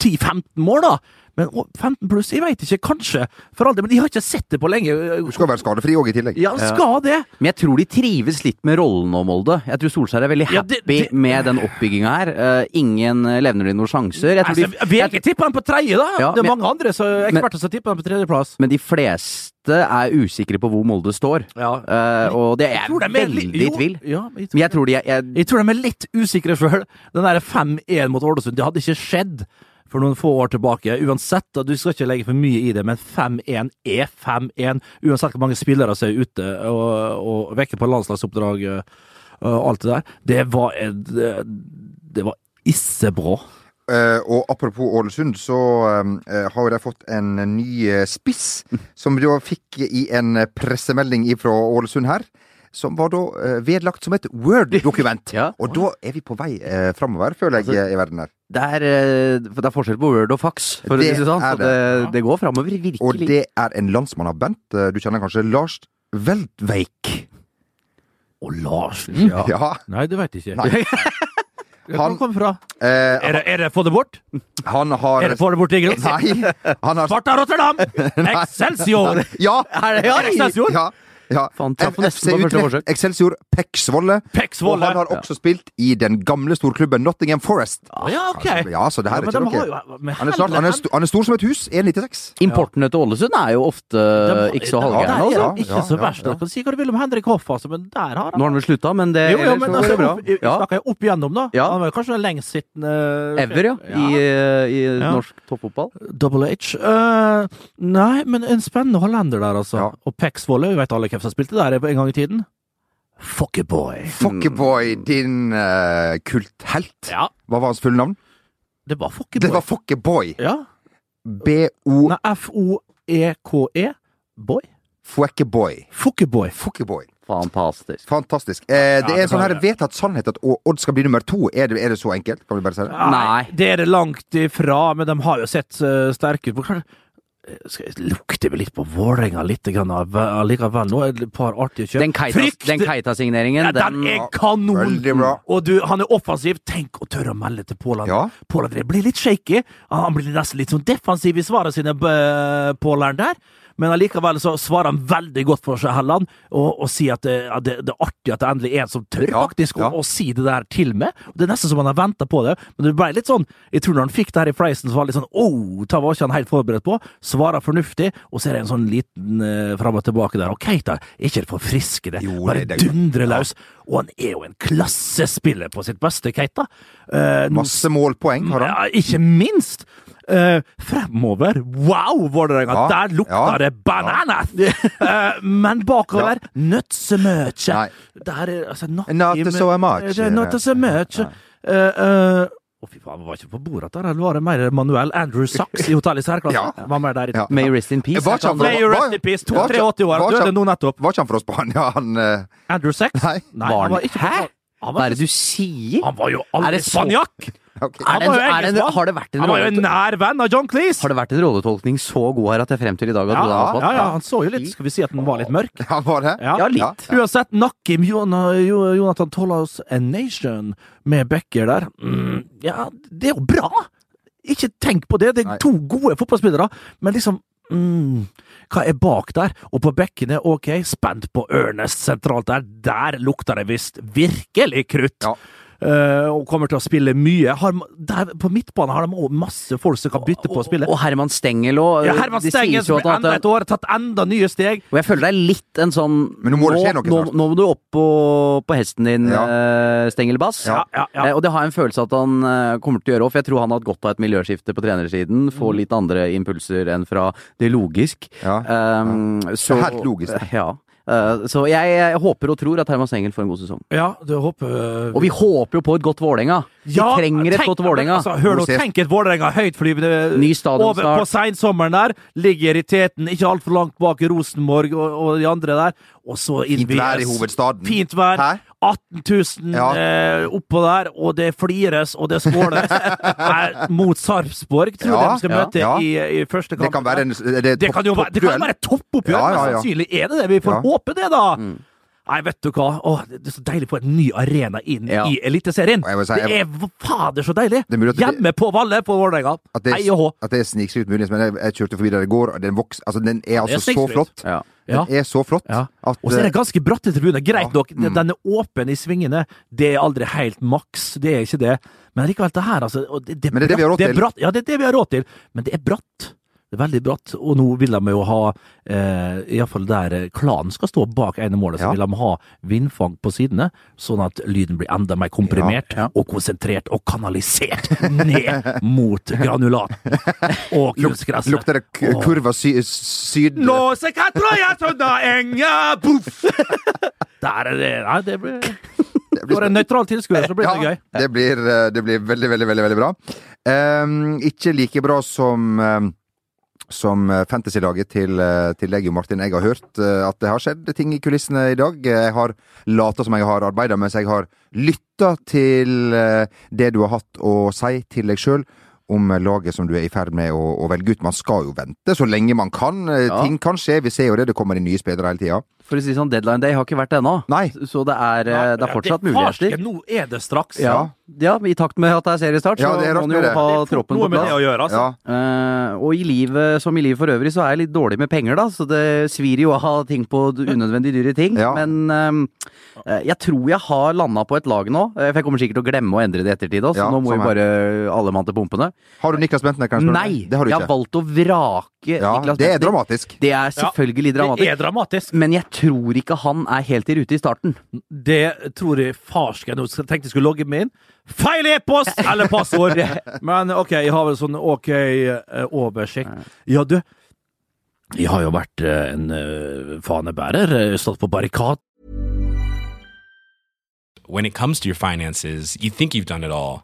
Speaker 1: 10-15 mål, da. Men å, 15 pluss, jeg veit ikke. Kanskje. For all del, men de har ikke sett det på lenge.
Speaker 2: Du skal være skadefri òg, i tillegg.
Speaker 1: Ja, skal det!
Speaker 3: Men jeg tror de trives litt med rollen nå, Molde. Jeg tror Solskjær er veldig happy
Speaker 1: Ja, det- det-
Speaker 3: med den oppbygginga her. Eh, ingen eh, levner de noen sjanser. Jeg tror
Speaker 1: Altså,
Speaker 3: de,
Speaker 1: VG tipper han på tredje, da!
Speaker 3: Ja,
Speaker 1: det er
Speaker 3: men-
Speaker 1: mange andre så, eksperter som tipper han på tredjeplass.
Speaker 3: men de fleste er usikre på hvor Molde står.
Speaker 1: Ja.
Speaker 3: Eh, og det er
Speaker 1: Jeg
Speaker 3: jeg
Speaker 1: tror de er
Speaker 3: veldig
Speaker 1: litt-
Speaker 3: i
Speaker 1: jo,
Speaker 3: tvil.
Speaker 1: Ja, jeg tror
Speaker 3: Men jeg tror de jeg, jeg,
Speaker 1: Jeg tror de er litt usikre sjøl. Den der 5-1 mot Ålesund, det hadde ikke skjedd for noen få år tilbake. Uansett, da, du skal ikke legge for mye i det, men 5-1 er 5-1. Uansett hvor mange spillere som er ute og, og vekker på landslagsoppdrag eh, og alt det der. Det var en- Det, det var issebra.
Speaker 2: Eh, og apropos Ålesund, så eh, har jo de fått en ny eh, spiss, som de da fikk i en pressemelding fra Ålesund her. Som var da eh, vedlagt som et Word-dokument.
Speaker 3: Ja.
Speaker 2: Og da er vi på vei uh, framover, føler jeg,
Speaker 1: Altså,
Speaker 2: eh, i verden her.
Speaker 3: det, er, eh, det er forskjell på Word og Fax, for
Speaker 2: Det
Speaker 3: å si det sånn.
Speaker 2: er
Speaker 3: Så
Speaker 2: det.
Speaker 3: det, det går framover,
Speaker 2: Og
Speaker 3: virkelig.
Speaker 2: det er en landsmann av Bent. eh, du kjenner kanskje Lars Veldveik?
Speaker 1: Og Larsen ja.
Speaker 2: Ja.
Speaker 1: Nei, du veit ikke.
Speaker 2: Mm. Nei.
Speaker 1: Hvor han kom fra?
Speaker 2: Eh,
Speaker 1: Er det, er det få det bort?
Speaker 2: han har
Speaker 1: Er det få det bort, Ingrid?
Speaker 2: Nei. Han har
Speaker 1: Sparta Rotterdam! Excelsior!
Speaker 2: Ja!
Speaker 3: Er det- ja,
Speaker 2: Nei.
Speaker 1: Excelsior?
Speaker 2: Ja. ja.
Speaker 3: Faen, traff nesten
Speaker 2: FC
Speaker 3: på første
Speaker 2: Utrecht,
Speaker 3: forsøk.
Speaker 2: Excelsior Peksvolle. Og
Speaker 1: Peksvolle!
Speaker 2: han har også spilt i den gamle storklubben Nottingham Forest.
Speaker 1: Ja, ok.
Speaker 2: Ja, så det her
Speaker 1: Ja, men
Speaker 2: er ikke
Speaker 1: de
Speaker 2: noe
Speaker 1: har jo- men
Speaker 2: han er, snart, han, er, sto- han er stor som et hus. 1,96.
Speaker 3: Importene til Ålesund er jo ofte
Speaker 1: De-
Speaker 2: eh,
Speaker 3: ikke så
Speaker 1: de-
Speaker 3: halvgærne.
Speaker 1: der er
Speaker 3: Altså.
Speaker 1: de Ikke
Speaker 2: Ja,
Speaker 1: så
Speaker 2: ja,
Speaker 1: verst.
Speaker 2: ja.
Speaker 1: Du kan si hva du vil om Henrik Hoff, altså, men der har han
Speaker 3: Nå har han vel slutta, men det
Speaker 1: Jo, jo,
Speaker 3: ellers
Speaker 1: men
Speaker 3: så
Speaker 1: altså,
Speaker 3: går det
Speaker 1: opp, jeg,
Speaker 3: bra.
Speaker 1: snakker jeg opp igjennom, da.
Speaker 3: Ja.
Speaker 1: Han var kanskje den lengstsittende
Speaker 3: Ja. Ever, ja. I, eh, i norsk toppfotball.
Speaker 1: Double H. Eh, nei, men en spennende hollender der, altså.
Speaker 2: Ja.
Speaker 1: Og Peksvolle, vi vet alle hvem som spilte der en gang i tiden. Fuckeboy.
Speaker 2: Fokkeboy, din eh, kulthelt.
Speaker 1: Ja,
Speaker 2: Hva var hans fulle navn?
Speaker 1: det var Fuckeboy.
Speaker 2: Det var Fokkeboy.
Speaker 1: Ja.
Speaker 2: B-O
Speaker 1: Nei, F-O-E-K-E. E. Boy.
Speaker 2: Fokkeboy.
Speaker 1: Fuckeboy.
Speaker 2: Fokkeboy.
Speaker 3: Fantastisk.
Speaker 2: Fantastisk. Eh, det
Speaker 1: Ja,
Speaker 2: er
Speaker 1: det
Speaker 2: en sånn
Speaker 1: var
Speaker 2: her
Speaker 1: det.
Speaker 2: vedtatt sannhet at Å- Odd skal bli nummer to. Er det, er det så enkelt? Kan vi bare si det?
Speaker 3: Nei.
Speaker 1: Det er det langt ifra, men de har jo sett eh, sterke ut. Kanskje- eh, skal jeg- Lukter vi litt på Vålerenga litt grann av- allikevel? Nå er det et par artige kjøp.
Speaker 3: Den Keita-
Speaker 1: Frykt-
Speaker 3: den Keita-signeringen,
Speaker 1: Ja, den,
Speaker 3: den
Speaker 1: er kanon!
Speaker 2: Veldig bra.
Speaker 1: Og du, han er offensiv. Tenk å tørre å melde til Påland.
Speaker 2: Ja.
Speaker 1: Påland det blir litt shaky. Han blir nesten litt sånn defensiv i svarene sine, Påland der. Men allikevel så svarer han veldig godt for seg, Helland, og, og sier at det, at det, det er artig at det endelig er en som tør
Speaker 2: Ja,
Speaker 1: faktisk
Speaker 2: ja.
Speaker 1: Å, å si det der til meg. Og det er nesten som han har venta på det. Men det ble litt sånn Jeg tror når han fikk det her i fleisen, så var det litt sånn Oh, det var ikke han helt forberedt på. Svarer fornuftig, og så er det en sånn liten eh, fram og tilbake der. Ok, da. Er ikke det forfriskende?
Speaker 2: Jo,
Speaker 1: Bare
Speaker 2: det- det-
Speaker 1: dundre løs. Og han er jo en klassespiller på sitt beste, Keita. Eh, nå
Speaker 2: Masse målpoeng har han.
Speaker 1: ja, ikke minst! Eh, fremover, wow, Vålerenga!
Speaker 2: Ja,
Speaker 1: Der lukta
Speaker 2: ja,
Speaker 1: det bananas! Eh, men bakover, not so much!
Speaker 2: Nei.
Speaker 1: Der er altså Not,
Speaker 2: Not so much.
Speaker 1: Eh, Not so much.
Speaker 2: Nei.
Speaker 1: Eh, eh, å, fy faen, var ikke på bordet der. Det var det mer Manuel Andrew Sachs i hotellet i særklasse.
Speaker 2: Ja.
Speaker 1: Var mer der i
Speaker 2: Ja.
Speaker 3: May rest in peace.
Speaker 2: Var ikke han
Speaker 1: May you rest in peace,
Speaker 2: Var ikke-
Speaker 1: 83 år,
Speaker 2: var ikke-
Speaker 1: døde nå nettopp.
Speaker 2: Var ikke han fra Spania, han eh,
Speaker 1: Andrew Sachs?
Speaker 2: Nei.
Speaker 3: Var
Speaker 1: han
Speaker 3: han-
Speaker 1: var ikke på-
Speaker 3: Hæ?
Speaker 1: Han
Speaker 3: Hva
Speaker 1: var,
Speaker 3: er det du sier?
Speaker 1: han var jo
Speaker 3: Er
Speaker 1: aldri
Speaker 3: det så-
Speaker 1: spanjakk!
Speaker 2: ok.
Speaker 3: Er det en,
Speaker 1: Han var jo
Speaker 3: er det en,
Speaker 1: engelskmann.
Speaker 3: har det vært en
Speaker 1: Han var jo en
Speaker 3: rolle-
Speaker 1: nær venn av John Cleese!
Speaker 3: har det vært en rolletolkning så god her at jeg frem til i dag hadde
Speaker 1: Ja,
Speaker 3: trodd han var
Speaker 1: ja, ja,
Speaker 3: svart?
Speaker 1: han så jo litt Skal vi si at den var litt mørk?
Speaker 2: Han var det?
Speaker 1: Ja.
Speaker 3: Ja, litt.
Speaker 1: Uansett, Nakim Jona- Jo- Jonathan Tollaus A Nation med Becker der mm, Ja, det er jo bra! Ikke tenk på det, det
Speaker 2: Nei.
Speaker 1: er to gode fotballspillere, men liksom mm, Hva er bak der? Og på bekkene, ok, spent på Ørnes sentralt der. Der lukter det visst virkelig krutt!
Speaker 2: Ja.
Speaker 1: Eh, og kommer til å spille mye. Har, der, på midtbanen har de også masse folk som kan bytte på å spille.
Speaker 3: Og Herman Stengel òg.
Speaker 1: Ja, Herman Stengen som blir enda et år, tatt enda nye steg.
Speaker 3: Og jeg føler det er litt en sånn
Speaker 2: Men nå må det skje noe
Speaker 3: nå,
Speaker 2: snart.
Speaker 3: nå må du opp på, på hesten din,
Speaker 2: Ja.
Speaker 3: eh, Stengelbass.
Speaker 1: Ja, ja, ja.
Speaker 3: Eh, Og det har jeg en følelse at han eh, kommer til å gjøre òg, for jeg tror han har hatt godt av et miljøskifte på trenersiden. Få
Speaker 1: Mm.
Speaker 3: litt andre impulser enn fra det logisk.
Speaker 2: Ja.
Speaker 3: Ehm, så-
Speaker 2: Det er helt logisk,
Speaker 3: Ja. Eh, så jeg, jeg håper og tror at Herman Stengel får en god sesong.
Speaker 1: Ja, du håper
Speaker 3: Og vi håper jo på et godt Vålerenga. Vi
Speaker 1: Ja,
Speaker 3: trenger et
Speaker 1: tenk-
Speaker 3: godt Vålerenga.
Speaker 1: Altså, hør nå,
Speaker 2: Nå ses-
Speaker 1: tenk et Vålerenga høytflyvende eh,
Speaker 3: Ny stadion
Speaker 1: over
Speaker 3: snart.
Speaker 1: på seinsommeren der. Ligger i teten, ikke altfor langt bak Rosenborg og, og de andre der. Og så
Speaker 2: Fint
Speaker 1: innvies.
Speaker 2: vær i hovedstaden.
Speaker 1: Fint vær.
Speaker 2: Hæ?
Speaker 1: 18 000
Speaker 2: Ja.
Speaker 1: eh, oppå der, og det flires og det skåles. Nei, Mot Sarpsborg, tror jeg
Speaker 2: Ja,
Speaker 1: de skal
Speaker 2: ja,
Speaker 1: møte
Speaker 2: ja.
Speaker 1: I, i første kamp.
Speaker 2: Det kan være en det er
Speaker 1: Det kan jo
Speaker 2: topp-
Speaker 1: være, det kan
Speaker 2: toppduell.
Speaker 1: være et toppoppgjør,
Speaker 2: Ja, ja,
Speaker 1: men
Speaker 2: ja.
Speaker 1: sannsynlig er det det. Vi får
Speaker 2: Ja. Mm.
Speaker 1: håpe det, da. Nei, vet du hva. Åh, det er så deilig å få en ny arena inn
Speaker 3: Ja.
Speaker 1: i Eliteserien.
Speaker 2: Og jeg må si-
Speaker 1: det er v- fader så deilig!
Speaker 2: Det er mulig at det-
Speaker 1: Hjemme på Valle på Vålerenga.
Speaker 2: At det,
Speaker 1: Hei og hå.
Speaker 2: at det er snikskryt muligens, men jeg, jeg kjørte forbi der i går, og den, voks, altså, den er altså så
Speaker 1: snikskryt.
Speaker 2: flott.
Speaker 3: Ja.
Speaker 1: Ja.
Speaker 2: Den er så flott
Speaker 1: Ja.
Speaker 2: at eh,
Speaker 1: Og så er det ganske bratte tribuner. Greit
Speaker 2: Ja, Mm.
Speaker 1: nok, den- den er åpen i svingene. Det er aldri helt maks, det er ikke det. Men likevel, det her, altså og det,
Speaker 2: Men det er det vi har
Speaker 1: bratt,
Speaker 2: råd til.
Speaker 1: er bratt, ja, det er det vi har råd til. Men det er bratt. Det er veldig bratt. Og nå vil de jo ha, eh, iallfall der eh, klanen skal stå bak ene målet, så
Speaker 2: Ja.
Speaker 1: vil de ha vindfang på sidene, sånn at lyden blir enda mer komprimert og konsentrert og kanalisert ned mot granulat og kunstgresset.
Speaker 2: lukter det k
Speaker 1: Åh.
Speaker 2: kurva sy syd...
Speaker 1: Låse katroja sånna enga Puff! Der er det Nei, det blir For en nøytral tilskuer, så blir det gøy.
Speaker 2: Det blir, eh, det blir veldig, veldig, veldig, veldig bra. Ehm, ikke like bra som ehm, som eh, fantasy-laget til, eh, til deg, Jo Martin. Jeg har hørt eh, at det har skjedd ting i kulissene i dag. Jeg har lata som jeg har arbeida, mens jeg har lytta til eh, det du har hatt å si til deg sjøl om eh, laget som du er i ferd med å, å velge ut. Man skal jo vente så lenge man kan. Eh,
Speaker 3: Ja.
Speaker 2: Ting kan skje. Vi ser jo det. Det kommer inn nye spillere hele tida.
Speaker 3: For å si det sånn, deadline day har ikke vært det ennå.
Speaker 2: Nei.
Speaker 3: Så det er, eh, det er fortsatt
Speaker 1: Ja, det farsken,
Speaker 3: muligheter.
Speaker 1: Nå er det straks.
Speaker 3: Ja. ja, i takt med at det er seriestart, så
Speaker 2: Ja, det er
Speaker 3: må
Speaker 2: rart
Speaker 3: man jo
Speaker 2: med det.
Speaker 3: ha
Speaker 1: Det er fort
Speaker 3: troppen
Speaker 1: noe
Speaker 3: på
Speaker 1: med det
Speaker 3: plass.
Speaker 1: å gjøre, altså.
Speaker 2: Ja.
Speaker 3: Eh, og i livet, som i livet for øvrig, så er jeg litt dårlig med penger, da. Så det svir jo å ha ting på d- unødvendig dyre ting.
Speaker 2: Ja.
Speaker 3: Men ehm, eh, jeg tror jeg har landa på et lag nå. eh, For jeg kommer sikkert til å glemme å endre det i ettertid òg, så
Speaker 2: Ja,
Speaker 3: nå må
Speaker 2: sånn
Speaker 3: vi
Speaker 2: er
Speaker 3: bare alle mann til pumpene.
Speaker 2: Har du Niklas Bentner? kan jeg spørre deg?
Speaker 3: Nei!
Speaker 2: Det har du
Speaker 3: jeg har
Speaker 2: ikke.
Speaker 3: valgt å vrake
Speaker 2: Ja,
Speaker 3: Niklas
Speaker 2: det er
Speaker 3: Bentner.
Speaker 2: dramatisk.
Speaker 3: Det er selvfølgelig
Speaker 1: Det
Speaker 3: dramatisk.
Speaker 1: er dramatisk.
Speaker 3: Men jeg tror ikke han er helt i rute i starten.
Speaker 1: Det tror jeg farsken Nå tenkte jeg skulle logge meg inn. Feil e-post eller passord! Men OK, jeg har vel sånn OK eh, oversikt. Ja, du. Jeg har jo vært eh, en eh, fanebærer. eh, Stått på barrikad
Speaker 4: when it comes to your finances, you think you've done it all.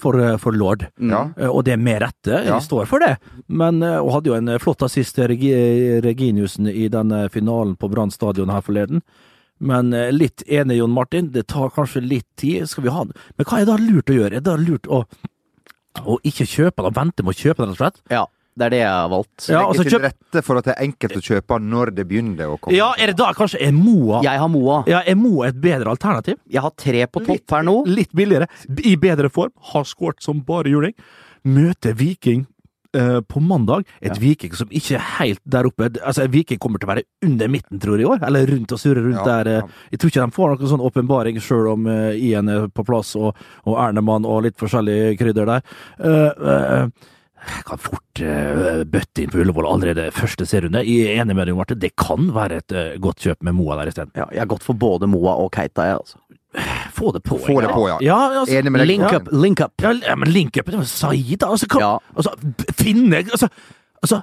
Speaker 1: for, eh, for lord.
Speaker 2: Mm. Ja.
Speaker 1: Eh, Og det med rette,
Speaker 2: Ja.
Speaker 1: jeg står for det. Men eh, hun hadde jo en eh, flott assist til Regi- Reginiussen i den eh, finalen på Brann stadion her forleden. Men eh, litt enig, Jon Martin, det tar kanskje litt tid. Skal vi ha den? Men hva er da lurt å gjøre? Er det da lurt å, å ikke kjøpe den, vente med å kjøpe den, rett og slett?
Speaker 3: Ja, Det er det jeg har valgt.
Speaker 1: Ja, og så
Speaker 2: Legge til
Speaker 1: kjøp-
Speaker 2: rette for at det er enkelt å kjøpe når det begynner å komme.
Speaker 1: Ja, er det da kanskje er Moa
Speaker 3: Jeg har Moa.
Speaker 1: Ja, er Moa et bedre alternativ?
Speaker 3: Jeg har tre på topp her nå.
Speaker 1: Litt billigere, i bedre form, har skåret som bare juling. Møter Viking eh, på mandag. Et Viking som ikke er helt der oppe. Altså, et Viking kommer til å være under midten, tror jeg, i år. Eller rundt og surre rundt
Speaker 2: Ja,
Speaker 1: der. eh.
Speaker 2: ja.
Speaker 1: Jeg tror ikke de får noen sånn åpenbaring sjøl om eh, Ian er på plass, og, og Ernemann og litt forskjellige krydder der. Eh, eh, jeg kan fort eh, bøtte inn på Ullevål allerede første serierunde. Jeg er enig med deg, Marte. Det kan være et eh, godt kjøp med Moa der isteden.
Speaker 3: Ja, jeg har gått for både Moa og Keita, jeg, altså.
Speaker 1: Få det på.
Speaker 2: Få
Speaker 1: jeg.
Speaker 2: det på, ja.
Speaker 1: altså,
Speaker 2: Enig med deg.
Speaker 3: Link up, link up.
Speaker 1: Ja, ja, men link-upen er jo Said, altså, kan,
Speaker 3: Ja.
Speaker 1: altså b- Finne Altså, altså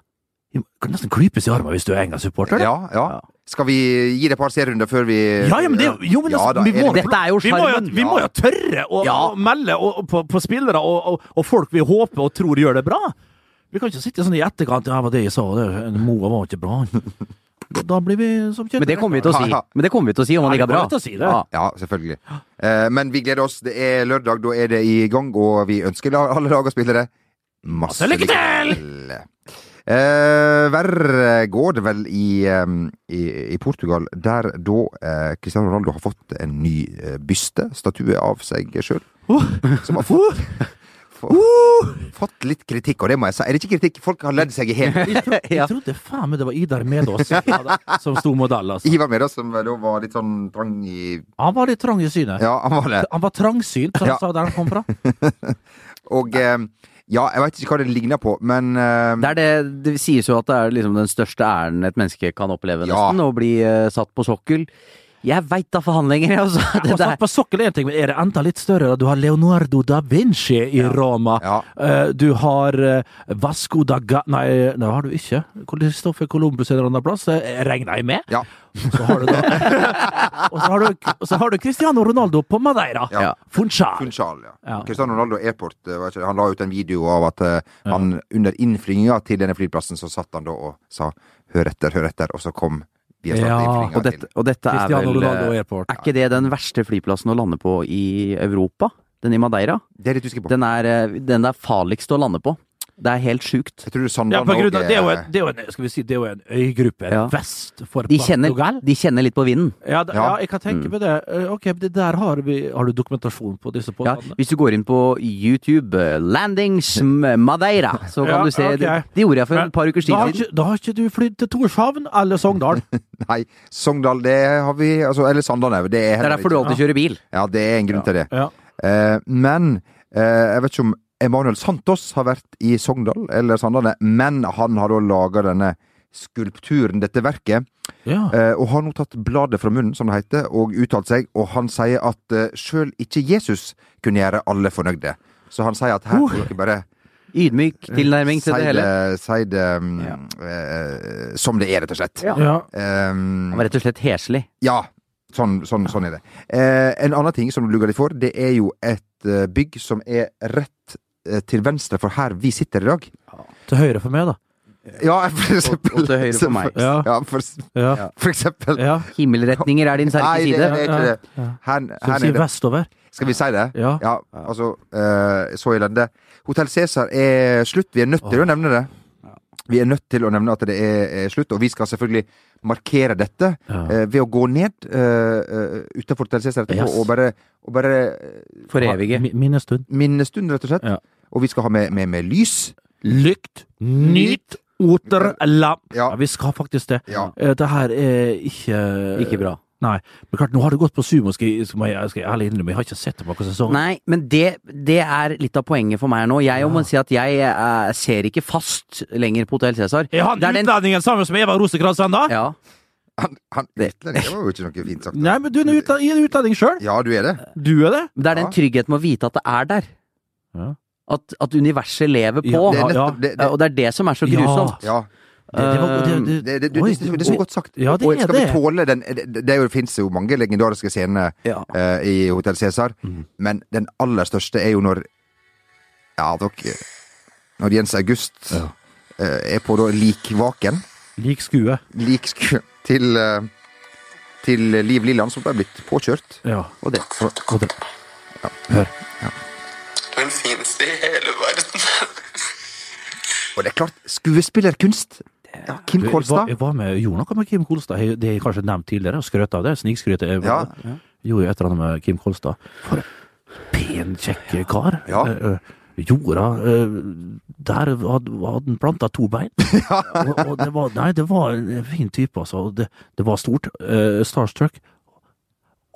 Speaker 1: Du kan nesten klypes i armen hvis du er Enga-supporter.
Speaker 2: Ja, ja. Skal vi gi det et par serierunder før vi
Speaker 1: Ja, ja, men det er jo- jo, men altså,
Speaker 2: da,
Speaker 1: vi
Speaker 2: er
Speaker 1: må-
Speaker 2: det-
Speaker 3: Dette er jo
Speaker 1: Vi må, jo,
Speaker 3: sjarmen.
Speaker 1: vi må jo tørre å,
Speaker 3: Ja.
Speaker 1: å melde og, og, på, på spillere og, og, og folk vi håper og tror gjør det bra. Vi kan ikke sitte sånn i etterkant Ja, det var det jeg sa, det, Moa var ikke bra. Da, da blir vi som kjøper.
Speaker 3: Men det kommer vi til å si.
Speaker 2: Ja, ja.
Speaker 3: Men det kommer vi til å si om
Speaker 1: Ja,
Speaker 3: han
Speaker 1: vi
Speaker 3: ikke er
Speaker 1: kommer til
Speaker 3: bra.
Speaker 1: å si det.
Speaker 3: Ja.
Speaker 2: Ja, selvfølgelig. Eh, men vi gleder oss. Det er lørdag, da er det i gang, og vi ønsker la- alle lag og spillere masse
Speaker 1: Masse lykke til!
Speaker 2: Eh, verre går det vel i, eh, i, i Portugal, der da eh, Cristiano Ronaldo har fått en ny eh, byste, statue av seg sjøl.
Speaker 1: Oh.
Speaker 2: Som har fått, få- fått litt kritikk, og det må jeg si. Er det ikke kritikk? Folk har ledd seg i hjel.
Speaker 1: Jeg, tro, jeg
Speaker 3: Ja.
Speaker 1: trodde faen meg det var Idar Medås som hadde- som sto modell, altså.
Speaker 2: Ivar Medås, som da var litt sånn trang i
Speaker 1: Han var litt trang i synet.
Speaker 2: Ja, han var det.
Speaker 1: Han var trangsynt, som
Speaker 2: Ja.
Speaker 1: han sa der han kom fra.
Speaker 2: Og eh, ja, jeg veit ikke hva det ligner på, men eh,
Speaker 3: Det, er det, det sies jo at det er liksom den største æren et menneske kan oppleve,
Speaker 2: Ja.
Speaker 3: nesten. Å bli eh, satt på sokkel. Jeg veit da faen lenger, jeg, altså.
Speaker 1: Og
Speaker 3: Det
Speaker 1: satt
Speaker 3: der.
Speaker 1: på sokkel er en ting, men er det enda litt større? Du har Leonardo da Vinci i Roma.
Speaker 2: Ja.
Speaker 1: Eh, Du har eh, Vasco da Ga... Nei, det har du ikke. Kristoffer Columbus en eller annen plass, eh, regner jeg med.
Speaker 2: Ja.
Speaker 1: Så har du da Og så har du, så har du Cristiano Ronaldo på Madeira.
Speaker 2: Ja.
Speaker 1: Funchal.
Speaker 2: Funchal, ja.
Speaker 1: Ja.
Speaker 2: Cristiano Ronaldo Airport eh, var ikke det, han la ut en video av at eh, han under innflyginga til denne flyplassen, så satt han da og sa 'hør etter, hør etter', og så kom vi og satt
Speaker 1: Ja,
Speaker 2: innflyginga
Speaker 3: Og dette,
Speaker 2: til
Speaker 3: og dette er
Speaker 1: Cristiano
Speaker 3: vel
Speaker 1: Ronaldo
Speaker 3: eh,
Speaker 1: Airport.
Speaker 3: Er ikke det den verste flyplassen å lande på i Europa? Den i Madeira?
Speaker 2: Det er litt usikker på.
Speaker 3: Den er eh, den det er farligst å lande på. Det er helt sjukt.
Speaker 2: Jeg tror
Speaker 1: Ja,
Speaker 2: Sandland
Speaker 1: på grunn av,
Speaker 2: også,
Speaker 1: det er jo
Speaker 2: eh,
Speaker 1: en, det er jo en, skal vi si, det er jo en øygruppe
Speaker 3: Ja.
Speaker 1: vest for
Speaker 3: De kjenner,
Speaker 1: Portugal.
Speaker 3: de kjenner litt på vinden.
Speaker 1: Ja, da, ja,
Speaker 2: Ja. Mm.
Speaker 1: jeg kan tenke på det. Eh, Ok, det der har vi Har du dokumentasjon på disse
Speaker 3: Ja,
Speaker 1: påstandene?
Speaker 3: hvis du går inn på YouTube, eh, 'Landings m- Madeira', så kan
Speaker 1: Ja,
Speaker 3: du se det,
Speaker 1: ok.
Speaker 3: det gjorde jeg for
Speaker 1: Men
Speaker 3: et par ukers tid
Speaker 1: da har,
Speaker 3: siden.
Speaker 1: ikke, da har ikke du flydd til Torshavn eller Sogndal?
Speaker 2: Nei, Sogndal, det har vi altså, Eller Sandland òg. Det er
Speaker 3: Det er derfor du alltid kjører bil.
Speaker 2: Ja, det er en grunn til det.
Speaker 1: Ja.
Speaker 2: Eh, men eh, jeg vet ikke om Emanuel Santos har vært i Sogndal eller Sandane, men han har da laga denne skulpturen, dette verket. Eh, og har nå tatt bladet fra munnen, som det heter, og uttalt seg, og han sier at eh, sjøl ikke Jesus kunne gjøre alle fornøyde. Så han sier at her får dere bare
Speaker 1: Eh,
Speaker 3: Ydmyk tilnærming til
Speaker 2: si
Speaker 3: det hele.
Speaker 2: si det mm, eh, som det er, rett og slett.
Speaker 3: Ja.
Speaker 1: Ja.
Speaker 2: Ehm,
Speaker 3: Han var rett og slett heslig.
Speaker 2: ja, sånn, sånn, sånn er det. Eh, en annen ting som du lugger deg for, det er jo et eh, bygg som er rett eh, til venstre for her vi sitter i dag.
Speaker 1: Til høyre for meg, da.
Speaker 2: Ja, for eksempel.
Speaker 3: og til høyre for meg.
Speaker 2: Ja,
Speaker 1: Ja.
Speaker 2: for,
Speaker 1: Ja.
Speaker 2: for eksempel.
Speaker 1: ja.
Speaker 3: Himmelretninger er din sterke
Speaker 2: Nei, det,
Speaker 3: side.
Speaker 2: det er ikke
Speaker 1: Ja,
Speaker 2: det. Her,
Speaker 1: Skal
Speaker 2: her
Speaker 1: vi si
Speaker 2: nede.
Speaker 1: vestover?
Speaker 2: Skal vi si det?
Speaker 1: Ja.
Speaker 2: Ja, altså eh, Så elende. Hotell Cæsar er slutt. Vi er nødt til å nevne det. Vi er nødt til å nevne at det er, er slutt, og vi skal selvfølgelig markere dette
Speaker 1: Ja.
Speaker 2: eh, ved å gå ned uh, utenfor Hotell Cæsar etterpå
Speaker 1: Yes.
Speaker 2: og bare, og bare eh,
Speaker 3: For evige.
Speaker 1: Mi- Minnestund.
Speaker 2: minnestund, rett og slett.
Speaker 1: Ja.
Speaker 2: Og vi skal ha med, med, med lys.
Speaker 1: Lykt, nyt, oter, lam.
Speaker 2: Ja.
Speaker 1: Ja, vi skal faktisk det.
Speaker 2: Ja.
Speaker 1: Eh, Det her er ikke
Speaker 3: Ikke bra.
Speaker 1: Nei. Men klart, nå har det gått på sumo, skal jeg, skal jeg, skal jeg ærlig innrømme. Jeg har ikke sett det på sesongen.
Speaker 3: Nei, men det, det er litt av poenget for meg her nå. Jeg må si at jeg eh, ser ikke fast lenger på Hotell Cæsar.
Speaker 1: Er han
Speaker 3: Det er den-
Speaker 1: utlendingen sammen med Eva Rosekrantz ennå?
Speaker 3: Ja.
Speaker 2: Han, han utlending, det var jo ikke noe fint sagt.
Speaker 1: Nei, men du er en utla- er en utlending sjøl.
Speaker 2: Ja, du er det.
Speaker 1: Du er det.
Speaker 3: Men Det er
Speaker 2: Ja.
Speaker 3: den tryggheten med å vite at det er der.
Speaker 1: Ja.
Speaker 3: At, at universet lever på.
Speaker 1: Ja,
Speaker 2: Det er
Speaker 1: ja.
Speaker 2: nettopp det.
Speaker 3: Eh,
Speaker 2: det
Speaker 3: Og det er det som er så grusomt.
Speaker 2: ja.
Speaker 1: Det, det var, det, det,
Speaker 2: Det, det, du-
Speaker 1: oi,
Speaker 2: det, det, det er så godt sagt.
Speaker 1: Ja, det
Speaker 2: og
Speaker 1: er
Speaker 2: skal
Speaker 1: det.
Speaker 2: vi tåle den Det, det, er jo- det finnes jo mange legendariske scener
Speaker 3: Ja.
Speaker 2: eh, i Hotell Cæsar,
Speaker 1: Mm.
Speaker 2: men den aller største er jo når Ja, dere Når Jens August eh, er på da likvaken,
Speaker 1: Lik skue.
Speaker 2: lik sku- til eh, til Liv Lilland, som ble blitt påkjørt.
Speaker 1: Ja.
Speaker 2: Og det.
Speaker 1: Og det.
Speaker 5: Den fineste i hele verden.
Speaker 2: Og det er klart, skuespillerkunst. Ja, Kim
Speaker 1: Jeg var,
Speaker 2: Kolstad.
Speaker 1: jeg var med, gjorde noe med Kim Kolstad, Jeg- det er kanskje nevnt tidligere, og skrøt av det. Snikskryt. Jeg
Speaker 2: Ja.
Speaker 1: gjorde jo et eller annet med Kim Kolstad. For en pen, kjekk kar.
Speaker 2: Ja.
Speaker 1: Eh, eh, Jorda eh, Der hadde, hadde han planta to bein. og, og det var, nei, det var en fin type, altså. Og Det, det var stort. Eh, starstruck.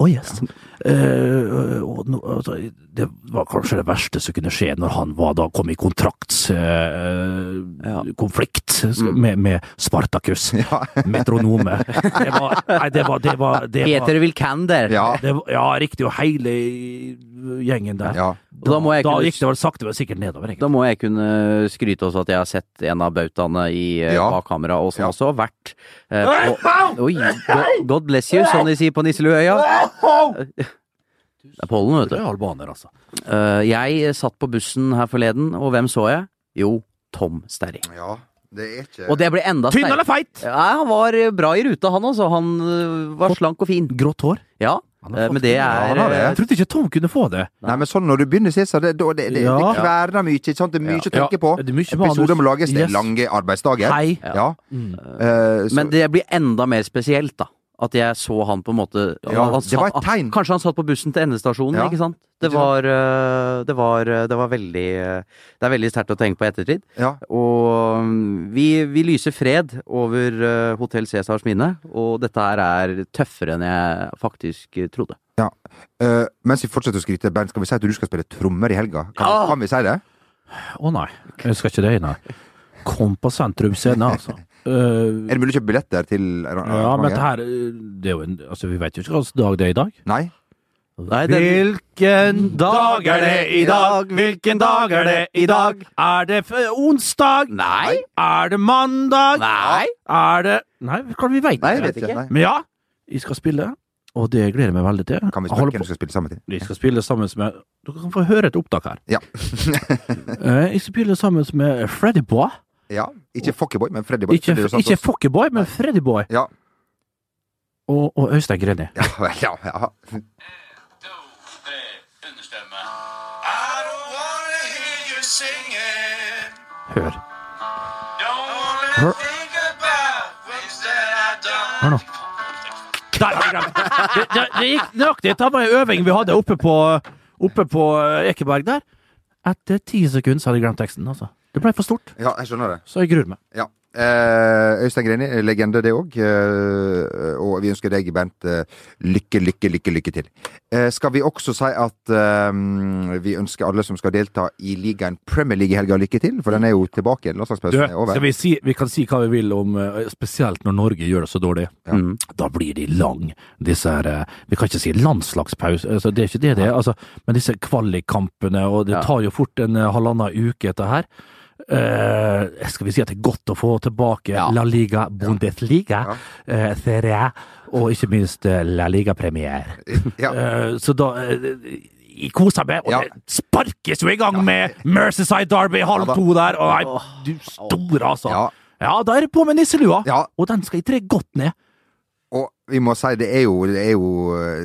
Speaker 1: Å, yes. Eh, og, nå- altså, det var kanskje det verste som kunne skje når han var, da kom i kontraktskonflikt
Speaker 3: Mm.
Speaker 1: med, med Spartacus. Metronome. Det var, nei, det var, det var, det var,
Speaker 3: Peter Wilkander.
Speaker 2: Ja.
Speaker 1: det var Ja, riktig. Og hele gjengen der.
Speaker 2: ja.
Speaker 3: Og Da, må jeg
Speaker 1: Da
Speaker 3: kunne,
Speaker 1: gikk det vel sakte, men sikkert nedover.
Speaker 3: da
Speaker 1: egentlig.
Speaker 3: må jeg kunne skryte også at jeg har sett en av bautaene i eh,
Speaker 2: Ja.
Speaker 3: bak kamera, og som
Speaker 2: Ja.
Speaker 3: også har vært eh, på, Oi! go- God bless you, som de sier på Nisseluøya. Det er pollen, vet
Speaker 1: Det
Speaker 3: du.
Speaker 1: er albaner, altså.
Speaker 3: Eh, jeg satt på bussen her forleden, og hvem så jeg? Jo, Tom Sterry.
Speaker 2: ja. Det er ikke
Speaker 3: Og det ble enda
Speaker 1: Tynn eller feit?
Speaker 3: Ja, han var eh, bra i ruta, han altså. Han eh, var slank og fin.
Speaker 1: Grått hår.
Speaker 3: Ja,
Speaker 1: Han har
Speaker 3: eh,
Speaker 1: fått
Speaker 3: men
Speaker 1: det.
Speaker 3: det
Speaker 2: Ja, han
Speaker 3: er
Speaker 2: har det.
Speaker 3: eh,
Speaker 1: Jeg trodde ikke Tom kunne få det.
Speaker 2: Nei, men sånn når du begynner, Cæsar, det, da- det, det, det
Speaker 1: Ja.
Speaker 2: kverner mye. Ikke sant? Det er mye å
Speaker 1: Ja.
Speaker 2: tenke på.
Speaker 1: Det er mye
Speaker 2: Episoder
Speaker 1: manus.
Speaker 2: må lages, det
Speaker 1: Yes.
Speaker 2: er lange arbeidsdager.
Speaker 1: Hei.
Speaker 2: Ja.
Speaker 1: Mm.
Speaker 2: Eh, så-
Speaker 3: Men det blir enda mer spesielt, da. At jeg så han på en måte
Speaker 2: Ja,
Speaker 3: han
Speaker 2: det var et tegn.
Speaker 3: han- Kanskje han satt på bussen til endestasjonen,
Speaker 2: Ja,
Speaker 3: ikke sant? Det
Speaker 2: ikke sant?
Speaker 3: var, eh, det var eh, Det var veldig eh, Det er veldig sterkt å tenke på i ettertid.
Speaker 2: ja.
Speaker 3: Og mm, vi, vi lyser fred over uh, Hotell Cæsars minne, og dette her er tøffere enn jeg faktisk eh, trodde.
Speaker 2: Ja. Eh, mens vi fortsetter å skryte, Bernt, skal vi si at du skal spille trommer i helga? Kan,
Speaker 1: Ah!
Speaker 3: Ja!
Speaker 2: kan vi si det?
Speaker 1: Å nei, jeg skal ikke det, nei. Kom på Sentrum Scene, altså. Eh,
Speaker 2: Er det mulig å kjøpe billetter til arrangementet?
Speaker 1: ja, men dette her eh, det er jo en, altså, Vi vet jo ikke hvilken dag det er i dag.
Speaker 2: Nei?
Speaker 3: Nei, det-
Speaker 1: Hvilken
Speaker 3: dag er det i dag?
Speaker 1: Hvilken
Speaker 3: dag er det i dag?
Speaker 1: Er det f- onsdag?
Speaker 3: Nei.
Speaker 1: Er det mandag?
Speaker 3: Nei.
Speaker 1: Er det Nei, hva vi veit
Speaker 2: Nei, jeg
Speaker 1: ikke.
Speaker 2: vet ikke. Nei.
Speaker 1: Men ja, vi skal spille, og det gleder jeg meg veldig til.
Speaker 2: Kan vi
Speaker 1: Jeg
Speaker 2: spørre
Speaker 1: holder
Speaker 2: hvem
Speaker 1: på-
Speaker 2: du skal spille sammen til?
Speaker 1: vi skal spille sammen med Dere kan få høre et opptak her.
Speaker 2: Ja.
Speaker 1: Eh, Jeg skal spille sammen med Freddy Boy.
Speaker 2: ja. Ikke Fuckyboy, men Freddy Boy.
Speaker 1: Oh. Ikke,
Speaker 2: Det er jo sant
Speaker 1: ikke
Speaker 2: også.
Speaker 1: Fokkeboy, men Freddy Boy.
Speaker 2: Ja.
Speaker 1: Og, og Øystein Greni.
Speaker 2: Ja, vel, ja, ja.
Speaker 1: Hør. Hør. Hør nå. Der har jeg glemt det. Det, det gikk nøyaktig. Det var en øving vi hadde oppe på, oppe på eh, Ekeberg der. Etter ti sekunder så hadde jeg glemt teksten. altså. Det ble for stort,
Speaker 2: ja, jeg skjønner det.
Speaker 1: så jeg gruer meg.
Speaker 2: Ja. Eh, Øystein Greni, legende det òg. Eh, og vi ønsker deg, Bent, eh, lykke, lykke, lykke lykke til. Eh, skal vi også si at eh, vi ønsker alle som skal delta i ligaen Premier League i helga, lykke til? For den er jo tilbake igjen.
Speaker 1: Du,
Speaker 2: Landslagspausen er over.
Speaker 1: skal vi, si, vi kan si hva vi vil om eh, Spesielt når Norge gjør det så dårlig. Da blir de lang, disse her eh, Vi kan ikke si landslagspause, altså, det er ikke det det er. Altså, men disse kvalikkampene, og det tar jo fort en eh, halvannen uke etter her. Eh, skal vi si at det er godt å få tilbake
Speaker 3: Ja.
Speaker 1: La Liga Bundesliga, eh, Serie A, og ikke minst eh, La Liga-premiere.
Speaker 2: Ja.
Speaker 1: Eh, så da eh, jeg koser meg, og
Speaker 2: Ja.
Speaker 1: det sparkes jo i gang med Mercyside Derby halv
Speaker 2: Ja da.
Speaker 1: to der, og nei, du store, altså.
Speaker 2: Ja.
Speaker 1: Ja, da er det på med nisselua,
Speaker 2: Ja.
Speaker 1: og den skal jeg tre godt ned.
Speaker 2: Og vi må si, det er jo Det, er jo,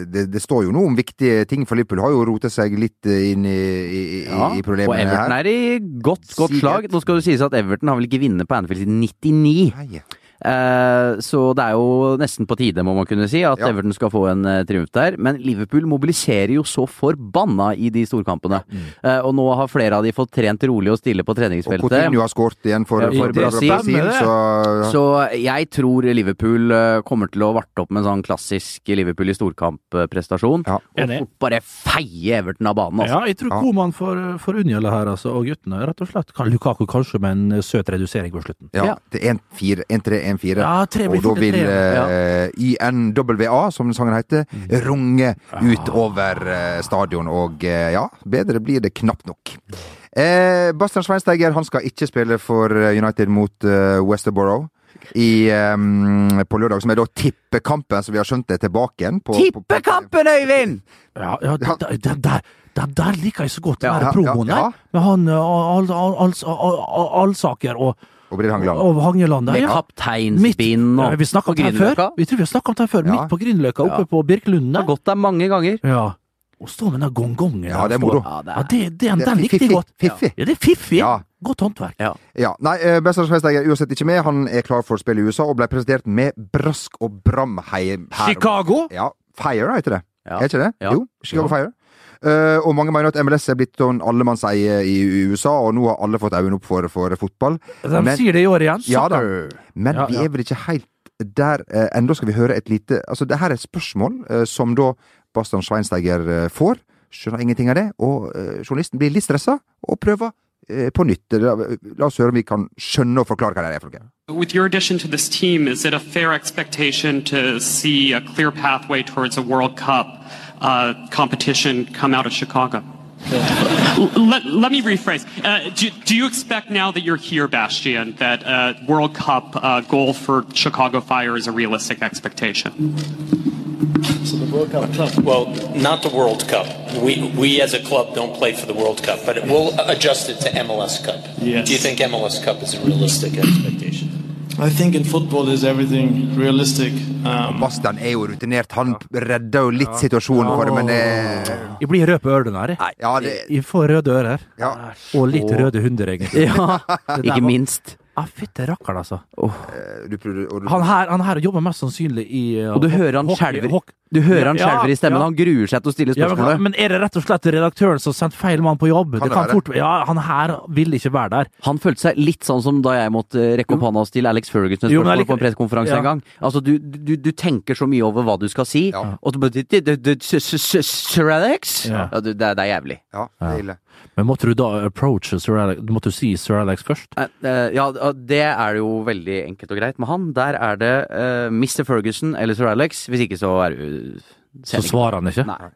Speaker 2: det, det står jo noe om viktige ting for Liverpool. Har jo rotet seg litt eh, inn i, i, i,
Speaker 3: Ja,
Speaker 2: i
Speaker 3: og
Speaker 2: problemene
Speaker 3: Everton
Speaker 2: her.
Speaker 3: er i godt,
Speaker 2: Sigurd.
Speaker 3: godt slag. Nå skal det sies at Everton har vel ikke vunnet på Anfield siden 99.
Speaker 2: Nei.
Speaker 3: Eh, Så det er jo nesten på tide, må man kunne si, at
Speaker 2: Ja.
Speaker 3: Everton skal få en eh, triumf der. Men Liverpool mobiliserer jo så forbanna i de storkampene. Eh, Og nå har flere av de fått trent rolig og stille på
Speaker 2: Mm. Og
Speaker 3: treningsfeltet.
Speaker 2: Coutinho har skåret igjen for,
Speaker 3: Ja,
Speaker 2: for,
Speaker 3: for Brasil.
Speaker 2: Brasil, så
Speaker 3: Så jeg tror Liverpool eh, kommer til å varte opp med en sånn klassisk Liverpool i storkamp-prestasjon.
Speaker 2: Ja.
Speaker 3: Og
Speaker 1: Enig.
Speaker 3: fort bare feie Everton av banen, altså.
Speaker 1: Ja, jeg tror
Speaker 2: Ja.
Speaker 1: Koman får, får unngjelde her, altså, og guttene, rett og slett. Kan Lukaku kanskje med en eh, søt redusering på slutten.
Speaker 2: Ja,
Speaker 3: Ja.
Speaker 2: til 1-4, 1-3-1-4.
Speaker 1: Ja, tre blir
Speaker 2: og da
Speaker 1: fort en
Speaker 2: vil
Speaker 1: tre,
Speaker 2: eh, YNWA, som den sangen heter,
Speaker 1: Mm.
Speaker 2: runge utover eh, stadion. Og eh, ja, bedre blir det knapt nok. Eh, Bastian Schweinsteiger han skal ikke spille for eh, United mot eh, Westerborough. I, eh, på lørdag, som er da tippekampen, som vi har skjønt er tilbake igjen. på- på-
Speaker 3: Tippekampen, Øyvind!
Speaker 1: Ja, ja den, den der den der liker jeg så godt, den
Speaker 2: Ja,
Speaker 1: der
Speaker 2: ja,
Speaker 1: promoen
Speaker 2: ja,
Speaker 1: der.
Speaker 2: ja.
Speaker 1: Med han eh, Al- Al- Al- Al- Al- Alsaker og,
Speaker 2: Og Britt Hangeland.
Speaker 1: og Hangeland der.
Speaker 3: Med
Speaker 1: Ja. Midt-
Speaker 3: kapteinsbind
Speaker 1: Ja,
Speaker 3: og
Speaker 1: Vi snakka om det her før. Vi tror vi har snakka om det her før.
Speaker 2: Ja.
Speaker 1: Midt på Grünerløkka, oppe
Speaker 3: Ja.
Speaker 1: på Birkelunden
Speaker 3: Det
Speaker 1: der.
Speaker 3: har gått der mange ganger.
Speaker 1: Ja. Å stå med den gongongen
Speaker 2: Ja,
Speaker 1: der
Speaker 2: det er
Speaker 1: og stå-
Speaker 2: moro.
Speaker 1: Ja, det, den, den
Speaker 2: Det er
Speaker 1: likte jeg
Speaker 2: fiffig,
Speaker 1: godt.
Speaker 2: fiffig.
Speaker 1: Ja, det er fiffig.
Speaker 2: Ja,
Speaker 1: Godt håndverk.
Speaker 3: Ja.
Speaker 2: Ja, nei, eh, Bester Schweinsteiger er uansett ikke med. Han er klar for spill i USA og ble presentert med brask og bram hei- her.
Speaker 1: Chicago!
Speaker 2: Ja, Fire heter det.
Speaker 3: Ja.
Speaker 2: Er ikke det?
Speaker 3: Ja.
Speaker 2: Jo, Chicago Fire. Eh, og mange mener at MLS er blitt sånn allemannseie i USA, og nå har alle fått øynene opp for, for fotball.
Speaker 1: De
Speaker 2: Men-
Speaker 1: sier det i år igjen.
Speaker 2: Ja da.
Speaker 1: Soccer.
Speaker 2: Men
Speaker 1: Ja,
Speaker 2: vi
Speaker 1: ja.
Speaker 2: er vel ikke helt der eh, ennå. Skal vi høre et lite Altså, det her er et spørsmål eh, som da Bastian Schweinsteiger eh, får. Skjønner ingenting av det. Og eh, journalisten blir litt stressa og prøver eh, på nytt. Eh, La oss høre om vi kan skjønne og forklare hva det er for noe.
Speaker 5: With your addition to this team, is it a fair expectation to see a clear pathway towards a World Cup uh, competition come out of Chicago? L- let, let me rephrase. Uh, do, do you expect now that you're here, Bastian, that uh, World Cup uh, goal for Chicago Fire is a realistic expectation?
Speaker 6: Well, not the World Cup. We, we as a club don't play for the World Cup, but we'll adjust it to MLS Cup.
Speaker 5: Yes.
Speaker 6: Do you think MLS Cup is a realistic expectation?
Speaker 7: I think in football is everything realistic. Um,
Speaker 2: Bastian er jo rutinert. Han redder jo litt situasjonen for det, men eh,
Speaker 1: Jeg blir rød på ørene her. jeg.
Speaker 2: Ja, det
Speaker 1: Jeg får røde ører.
Speaker 2: Ja.
Speaker 1: Og litt røde hunder, egentlig.
Speaker 3: Ja, ikke minst.
Speaker 1: Ja, fytte rakkeren, altså.
Speaker 2: eh, du prøvde, og du,
Speaker 1: Han her, han her jobber mest sannsynlig i uh,
Speaker 3: Og du hører han
Speaker 1: hockey-
Speaker 3: skjelver
Speaker 1: hockey-
Speaker 3: Du hører han
Speaker 1: Ja,
Speaker 3: skjelver i stemmen.
Speaker 1: ja.
Speaker 3: Han gruer seg til å stille
Speaker 1: Ja, men,
Speaker 3: spørsmålet.
Speaker 1: men er det rett og slett redaktøren som sendte feil mann på jobb? det
Speaker 2: Kan det
Speaker 1: kan
Speaker 2: være?
Speaker 1: fort, ja, Han her ville ikke være der.
Speaker 3: Han følte seg litt sånn som da jeg måtte eh, rekke opp hånda og stille Alex Ferguson et
Speaker 1: Jo, men
Speaker 3: spørsmål
Speaker 1: allike-
Speaker 3: på en pressekonferanse
Speaker 1: Ja.
Speaker 3: en gang. Altså, du, du, du tenker så mye over hva du skal si,
Speaker 2: Ja.
Speaker 3: og så bare du- du- du- s- s- s- Sir Alex?
Speaker 1: Ja.
Speaker 3: Ja, du, det, er- det er jævlig.
Speaker 2: ja, det er ille.
Speaker 1: Men måtte du da approache Sir Alex Måtte du si Sir Alex først?
Speaker 3: Eh, eh, Ja, det er det jo veldig enkelt og greit med han. Der er det eh, Mr. Ferguson eller Sir Alex. Hvis ikke så er du
Speaker 1: Så svarer han ikke?
Speaker 3: Nei.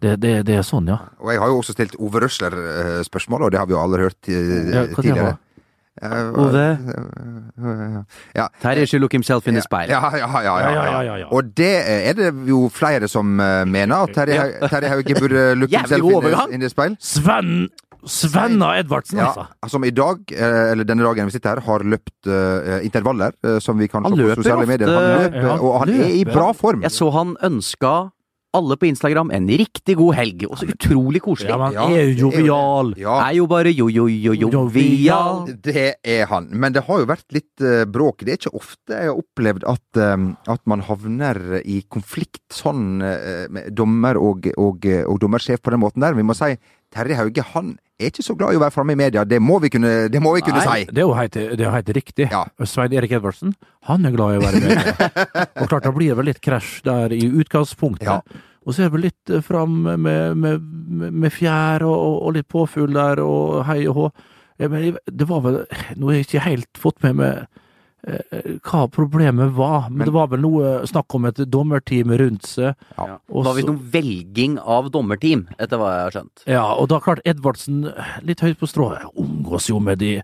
Speaker 1: Det, det, det er sånn, ja.
Speaker 2: Og jeg har jo også stilt Ove Røsler-spørsmål, og det har vi jo alle hørt ti-
Speaker 1: ja hva det
Speaker 2: tidligere.
Speaker 1: var?
Speaker 2: Ove Ja.
Speaker 3: Terje should look himself in the speil.
Speaker 2: Ja, ja, ja, ja,
Speaker 1: Ja,
Speaker 2: ja,
Speaker 1: ja, ja, ja.
Speaker 2: Og det er det jo flere som eh, mener, at Terje Hau- Terje Hauge burde looke
Speaker 3: Jævlig
Speaker 2: himself
Speaker 3: god
Speaker 2: in the,
Speaker 3: overgang.
Speaker 2: in the speil.
Speaker 1: Sven Svenna Edvardsen,
Speaker 2: Ja,
Speaker 1: altså.
Speaker 2: som i dag, eh, eller denne dagen vi sitter her, har løpt eh, intervaller, eh, som vi kan
Speaker 3: Han
Speaker 2: se på
Speaker 3: løper
Speaker 2: sosiale
Speaker 3: ofte.
Speaker 2: medier. Han løper,
Speaker 1: Ja,
Speaker 2: og han er i
Speaker 1: løper.
Speaker 2: bra form.
Speaker 3: Jeg så han ønska alle på Instagram en riktig god helg, og så utrolig koselig.
Speaker 1: Ja, men
Speaker 2: Ja,
Speaker 1: han er jo
Speaker 2: det er jo det.
Speaker 1: jovial.
Speaker 2: Ja,
Speaker 3: Er jo bare jo-jo-jo-jovial.
Speaker 2: det er han. Men det har jo vært litt eh, bråk. Det er ikke ofte jeg har opplevd at, eh, at man havner i konflikt sånn eh, med dommer og, og, og dommersjef på den måten der. Vi må si Terje Hauge, han er ikke så glad i å være framme i media. Det må vi kunne, det må vi kunne si.
Speaker 3: Nei.
Speaker 1: Det er jo helt, det er jo helt riktig.
Speaker 2: Ja.
Speaker 1: Svein Erik Edvardsen, han er glad i å være med. og klart, da blir det vel litt krasj der i utgangspunktet.
Speaker 2: Ja.
Speaker 1: Og så er det vel litt eh, fram med, med, med- med fjær og, og- og litt påfugl der, og hei og hå. Ja, men jeg- det var vel Nå har jeg ikke helt fått med meg eh, hva problemet var, men, det var vel noe snakk om et dommerteam rundt seg.
Speaker 3: Ja.
Speaker 1: Og
Speaker 3: Det var visst
Speaker 1: så-
Speaker 3: noen velging av dommerteam, etter hva jeg har skjønt.
Speaker 1: Ja, og da klart Edvardsen, litt høyt på strået, omgås jo med de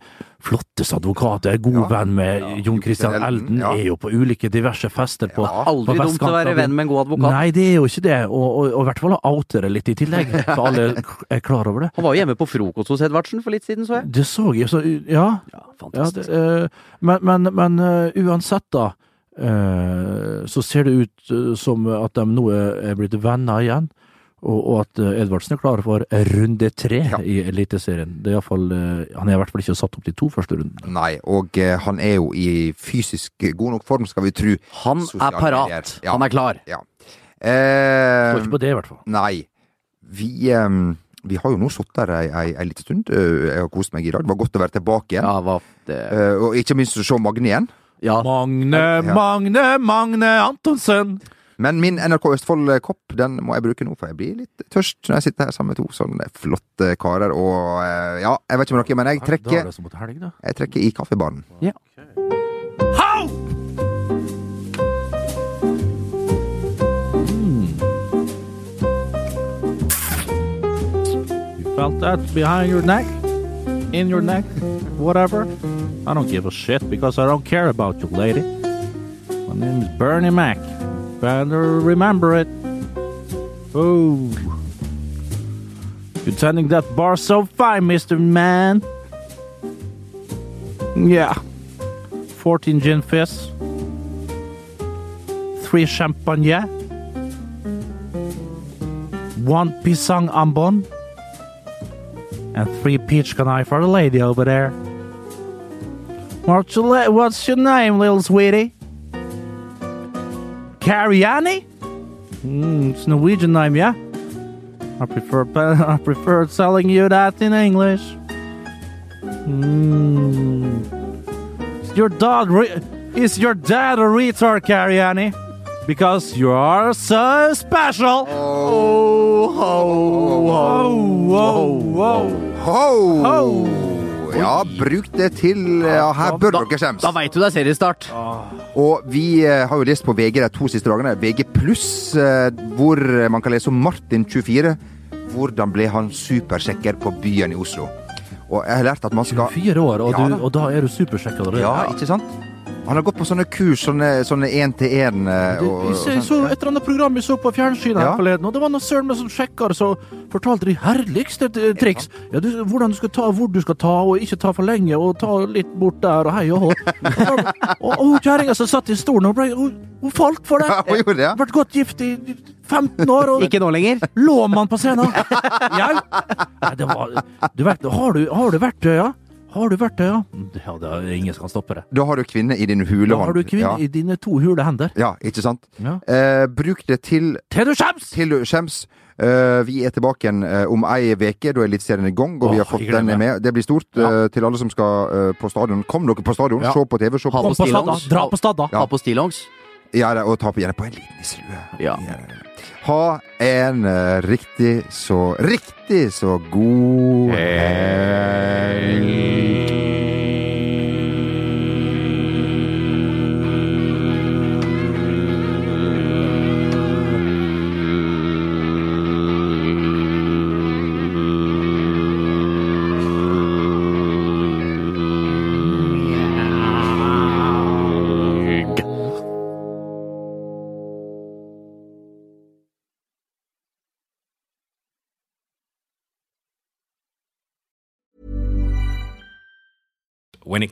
Speaker 1: flotteste advokater. God venn med Jon Christian
Speaker 2: Christian Elden,
Speaker 1: Elden,
Speaker 2: ja.
Speaker 1: er jo på ulike diverse fester på
Speaker 3: Aldri
Speaker 1: på
Speaker 3: dumt å være
Speaker 1: vestkanten.
Speaker 3: venn med en god advokat.
Speaker 1: Nei, det er jo ikke det, og, og, og i hvert fall å oute det litt i tillegg, så alle er klar over det.
Speaker 3: Han var jo hjemme på frokost hos Edvardsen for litt siden, så jeg.
Speaker 1: Det så jeg, så ja.
Speaker 3: Ja,
Speaker 1: ja det,
Speaker 3: fantastisk.
Speaker 1: eh, men men, men eh, uansett, da, eh, så ser det ut eh, som at de nå er, er blitt venner igjen. Og, og at eh, Edvardsen er klar for runde tre
Speaker 2: Ja.
Speaker 1: i Eliteserien. Det er i hvert fall, eh, han er i hvert fall ikke satt opp de to første rundene.
Speaker 2: Nei, og eh, han er jo i fysisk god nok form, skal vi tru.
Speaker 3: Han
Speaker 2: Sosiale
Speaker 3: er parat.
Speaker 2: medier. Ja.
Speaker 3: Han er klar.
Speaker 2: Ja. Eh,
Speaker 1: Står ikke på det, i hvert fall.
Speaker 2: Nei. Vi, ehm, vi har jo nå sittet her ei, ei, ei liten stund. Eh, Jeg har kost meg i dag. Det var godt å være tilbake igjen.
Speaker 3: Ja, hva det
Speaker 2: Eh, og ikke minst å se Magne igjen.
Speaker 3: Ja,
Speaker 1: Magne, Magne, Magne Antonsen!
Speaker 2: Men min NRK Østfold-kopp den må jeg bruke nå, for jeg blir litt tørst når jeg sitter her sammen med to sånne flotte karer. Og eh, ja, jeg vet ikke om dere, men jeg
Speaker 1: Da er
Speaker 2: trekker,
Speaker 1: det som mot helg, da.
Speaker 2: jeg trekker i kaffebaren.
Speaker 1: How? You felt that behind your neck? In your neck? Whatever? I don't give a shit because I don't care about you, lady. My name is Bernie Mac. Better remember it. Oh. You're turning that bar so fine, Mr. Man. Yeah. 14 gin fizz, 3 champagne, 1 pisang ambon, And three peach can I for the lady over there. What's your, la- what's your name, little sweetie? Cariani? Mm, it's Norwegian name, yeah? I prefer I prefer selling you that in English. Mm. Is your dad re- is your dad a retard, Cariani? Because you are so special. Oh, ho, ho, ho,
Speaker 2: Ho!
Speaker 1: Ho!
Speaker 2: Ja, bruk det til ja, Her bør dere skjemmes.
Speaker 3: Da veit du det er seriestart!
Speaker 2: Og vi eh, har jo lest på VG de to siste dagene, VG pluss, eh, hvor man kan lese om Martin24. Hvordan ble han supersjekker på byen i Oslo? Og jeg har lært at man skal
Speaker 1: Fire år, og,
Speaker 2: Ja
Speaker 1: du,
Speaker 2: da.
Speaker 1: og da er du supersjekk allerede.
Speaker 2: Ja, ikke sant? Han har gått på sånne kurs, sånne, sånne én-til-én eh,
Speaker 1: Det-
Speaker 2: og,
Speaker 1: Jeg
Speaker 2: og
Speaker 1: så, jeg
Speaker 2: sånn.
Speaker 1: så et eller annet program vi så på fjernsynet her
Speaker 2: Ja.
Speaker 1: forleden, og det var noen søren meg som sjekker, så fortalte de herligste eh, triks. Ja, du, hvordan du skal ta, hvor du skal ta, og ikke ta for lenge, og ta litt bort der, og hei og hå. Og, og hun kjerringa som satt i stolen, hun, ble, hun, hun falt for det.
Speaker 2: Ja, hun gjorde det, ja.
Speaker 1: Vært godt gift i 15 år, og
Speaker 3: Ikke nå lenger.
Speaker 1: lå man på scenen. Jau. Nei, det var Du vet, har du, har du vært det, ja? Har du vært det, ja? Ja, det er, ingen som kan stoppe det.
Speaker 2: Da har du kvinne i din
Speaker 1: Da
Speaker 2: hulehånd.
Speaker 1: har du kvinne
Speaker 2: ja.
Speaker 1: i dine to hule hender.
Speaker 2: ja, ikke sant?
Speaker 1: Ja.
Speaker 2: Eh, bruk det til
Speaker 1: Til du skjems!
Speaker 2: til du skjems. Eh, vi er tilbake igjen eh, om ei uke. Da er Eliteserien i gang, og vi har
Speaker 1: Åh,
Speaker 2: fått
Speaker 1: jeg
Speaker 2: den
Speaker 1: gleder meg.
Speaker 2: med. Det blir stort eh, til alle som skal eh, på stadion. Kom dere på stadion,
Speaker 1: Ja.
Speaker 2: se på TV, se på
Speaker 3: Ha
Speaker 1: Kom på stadda.
Speaker 3: stillongs.
Speaker 1: Dra på stadda.
Speaker 3: Ha på stillongs.
Speaker 2: Ja, da, og ta på gjerne på en liten nisselue.
Speaker 3: Ja.
Speaker 2: Ha en eh, riktig så riktig så god helg.
Speaker 4: when it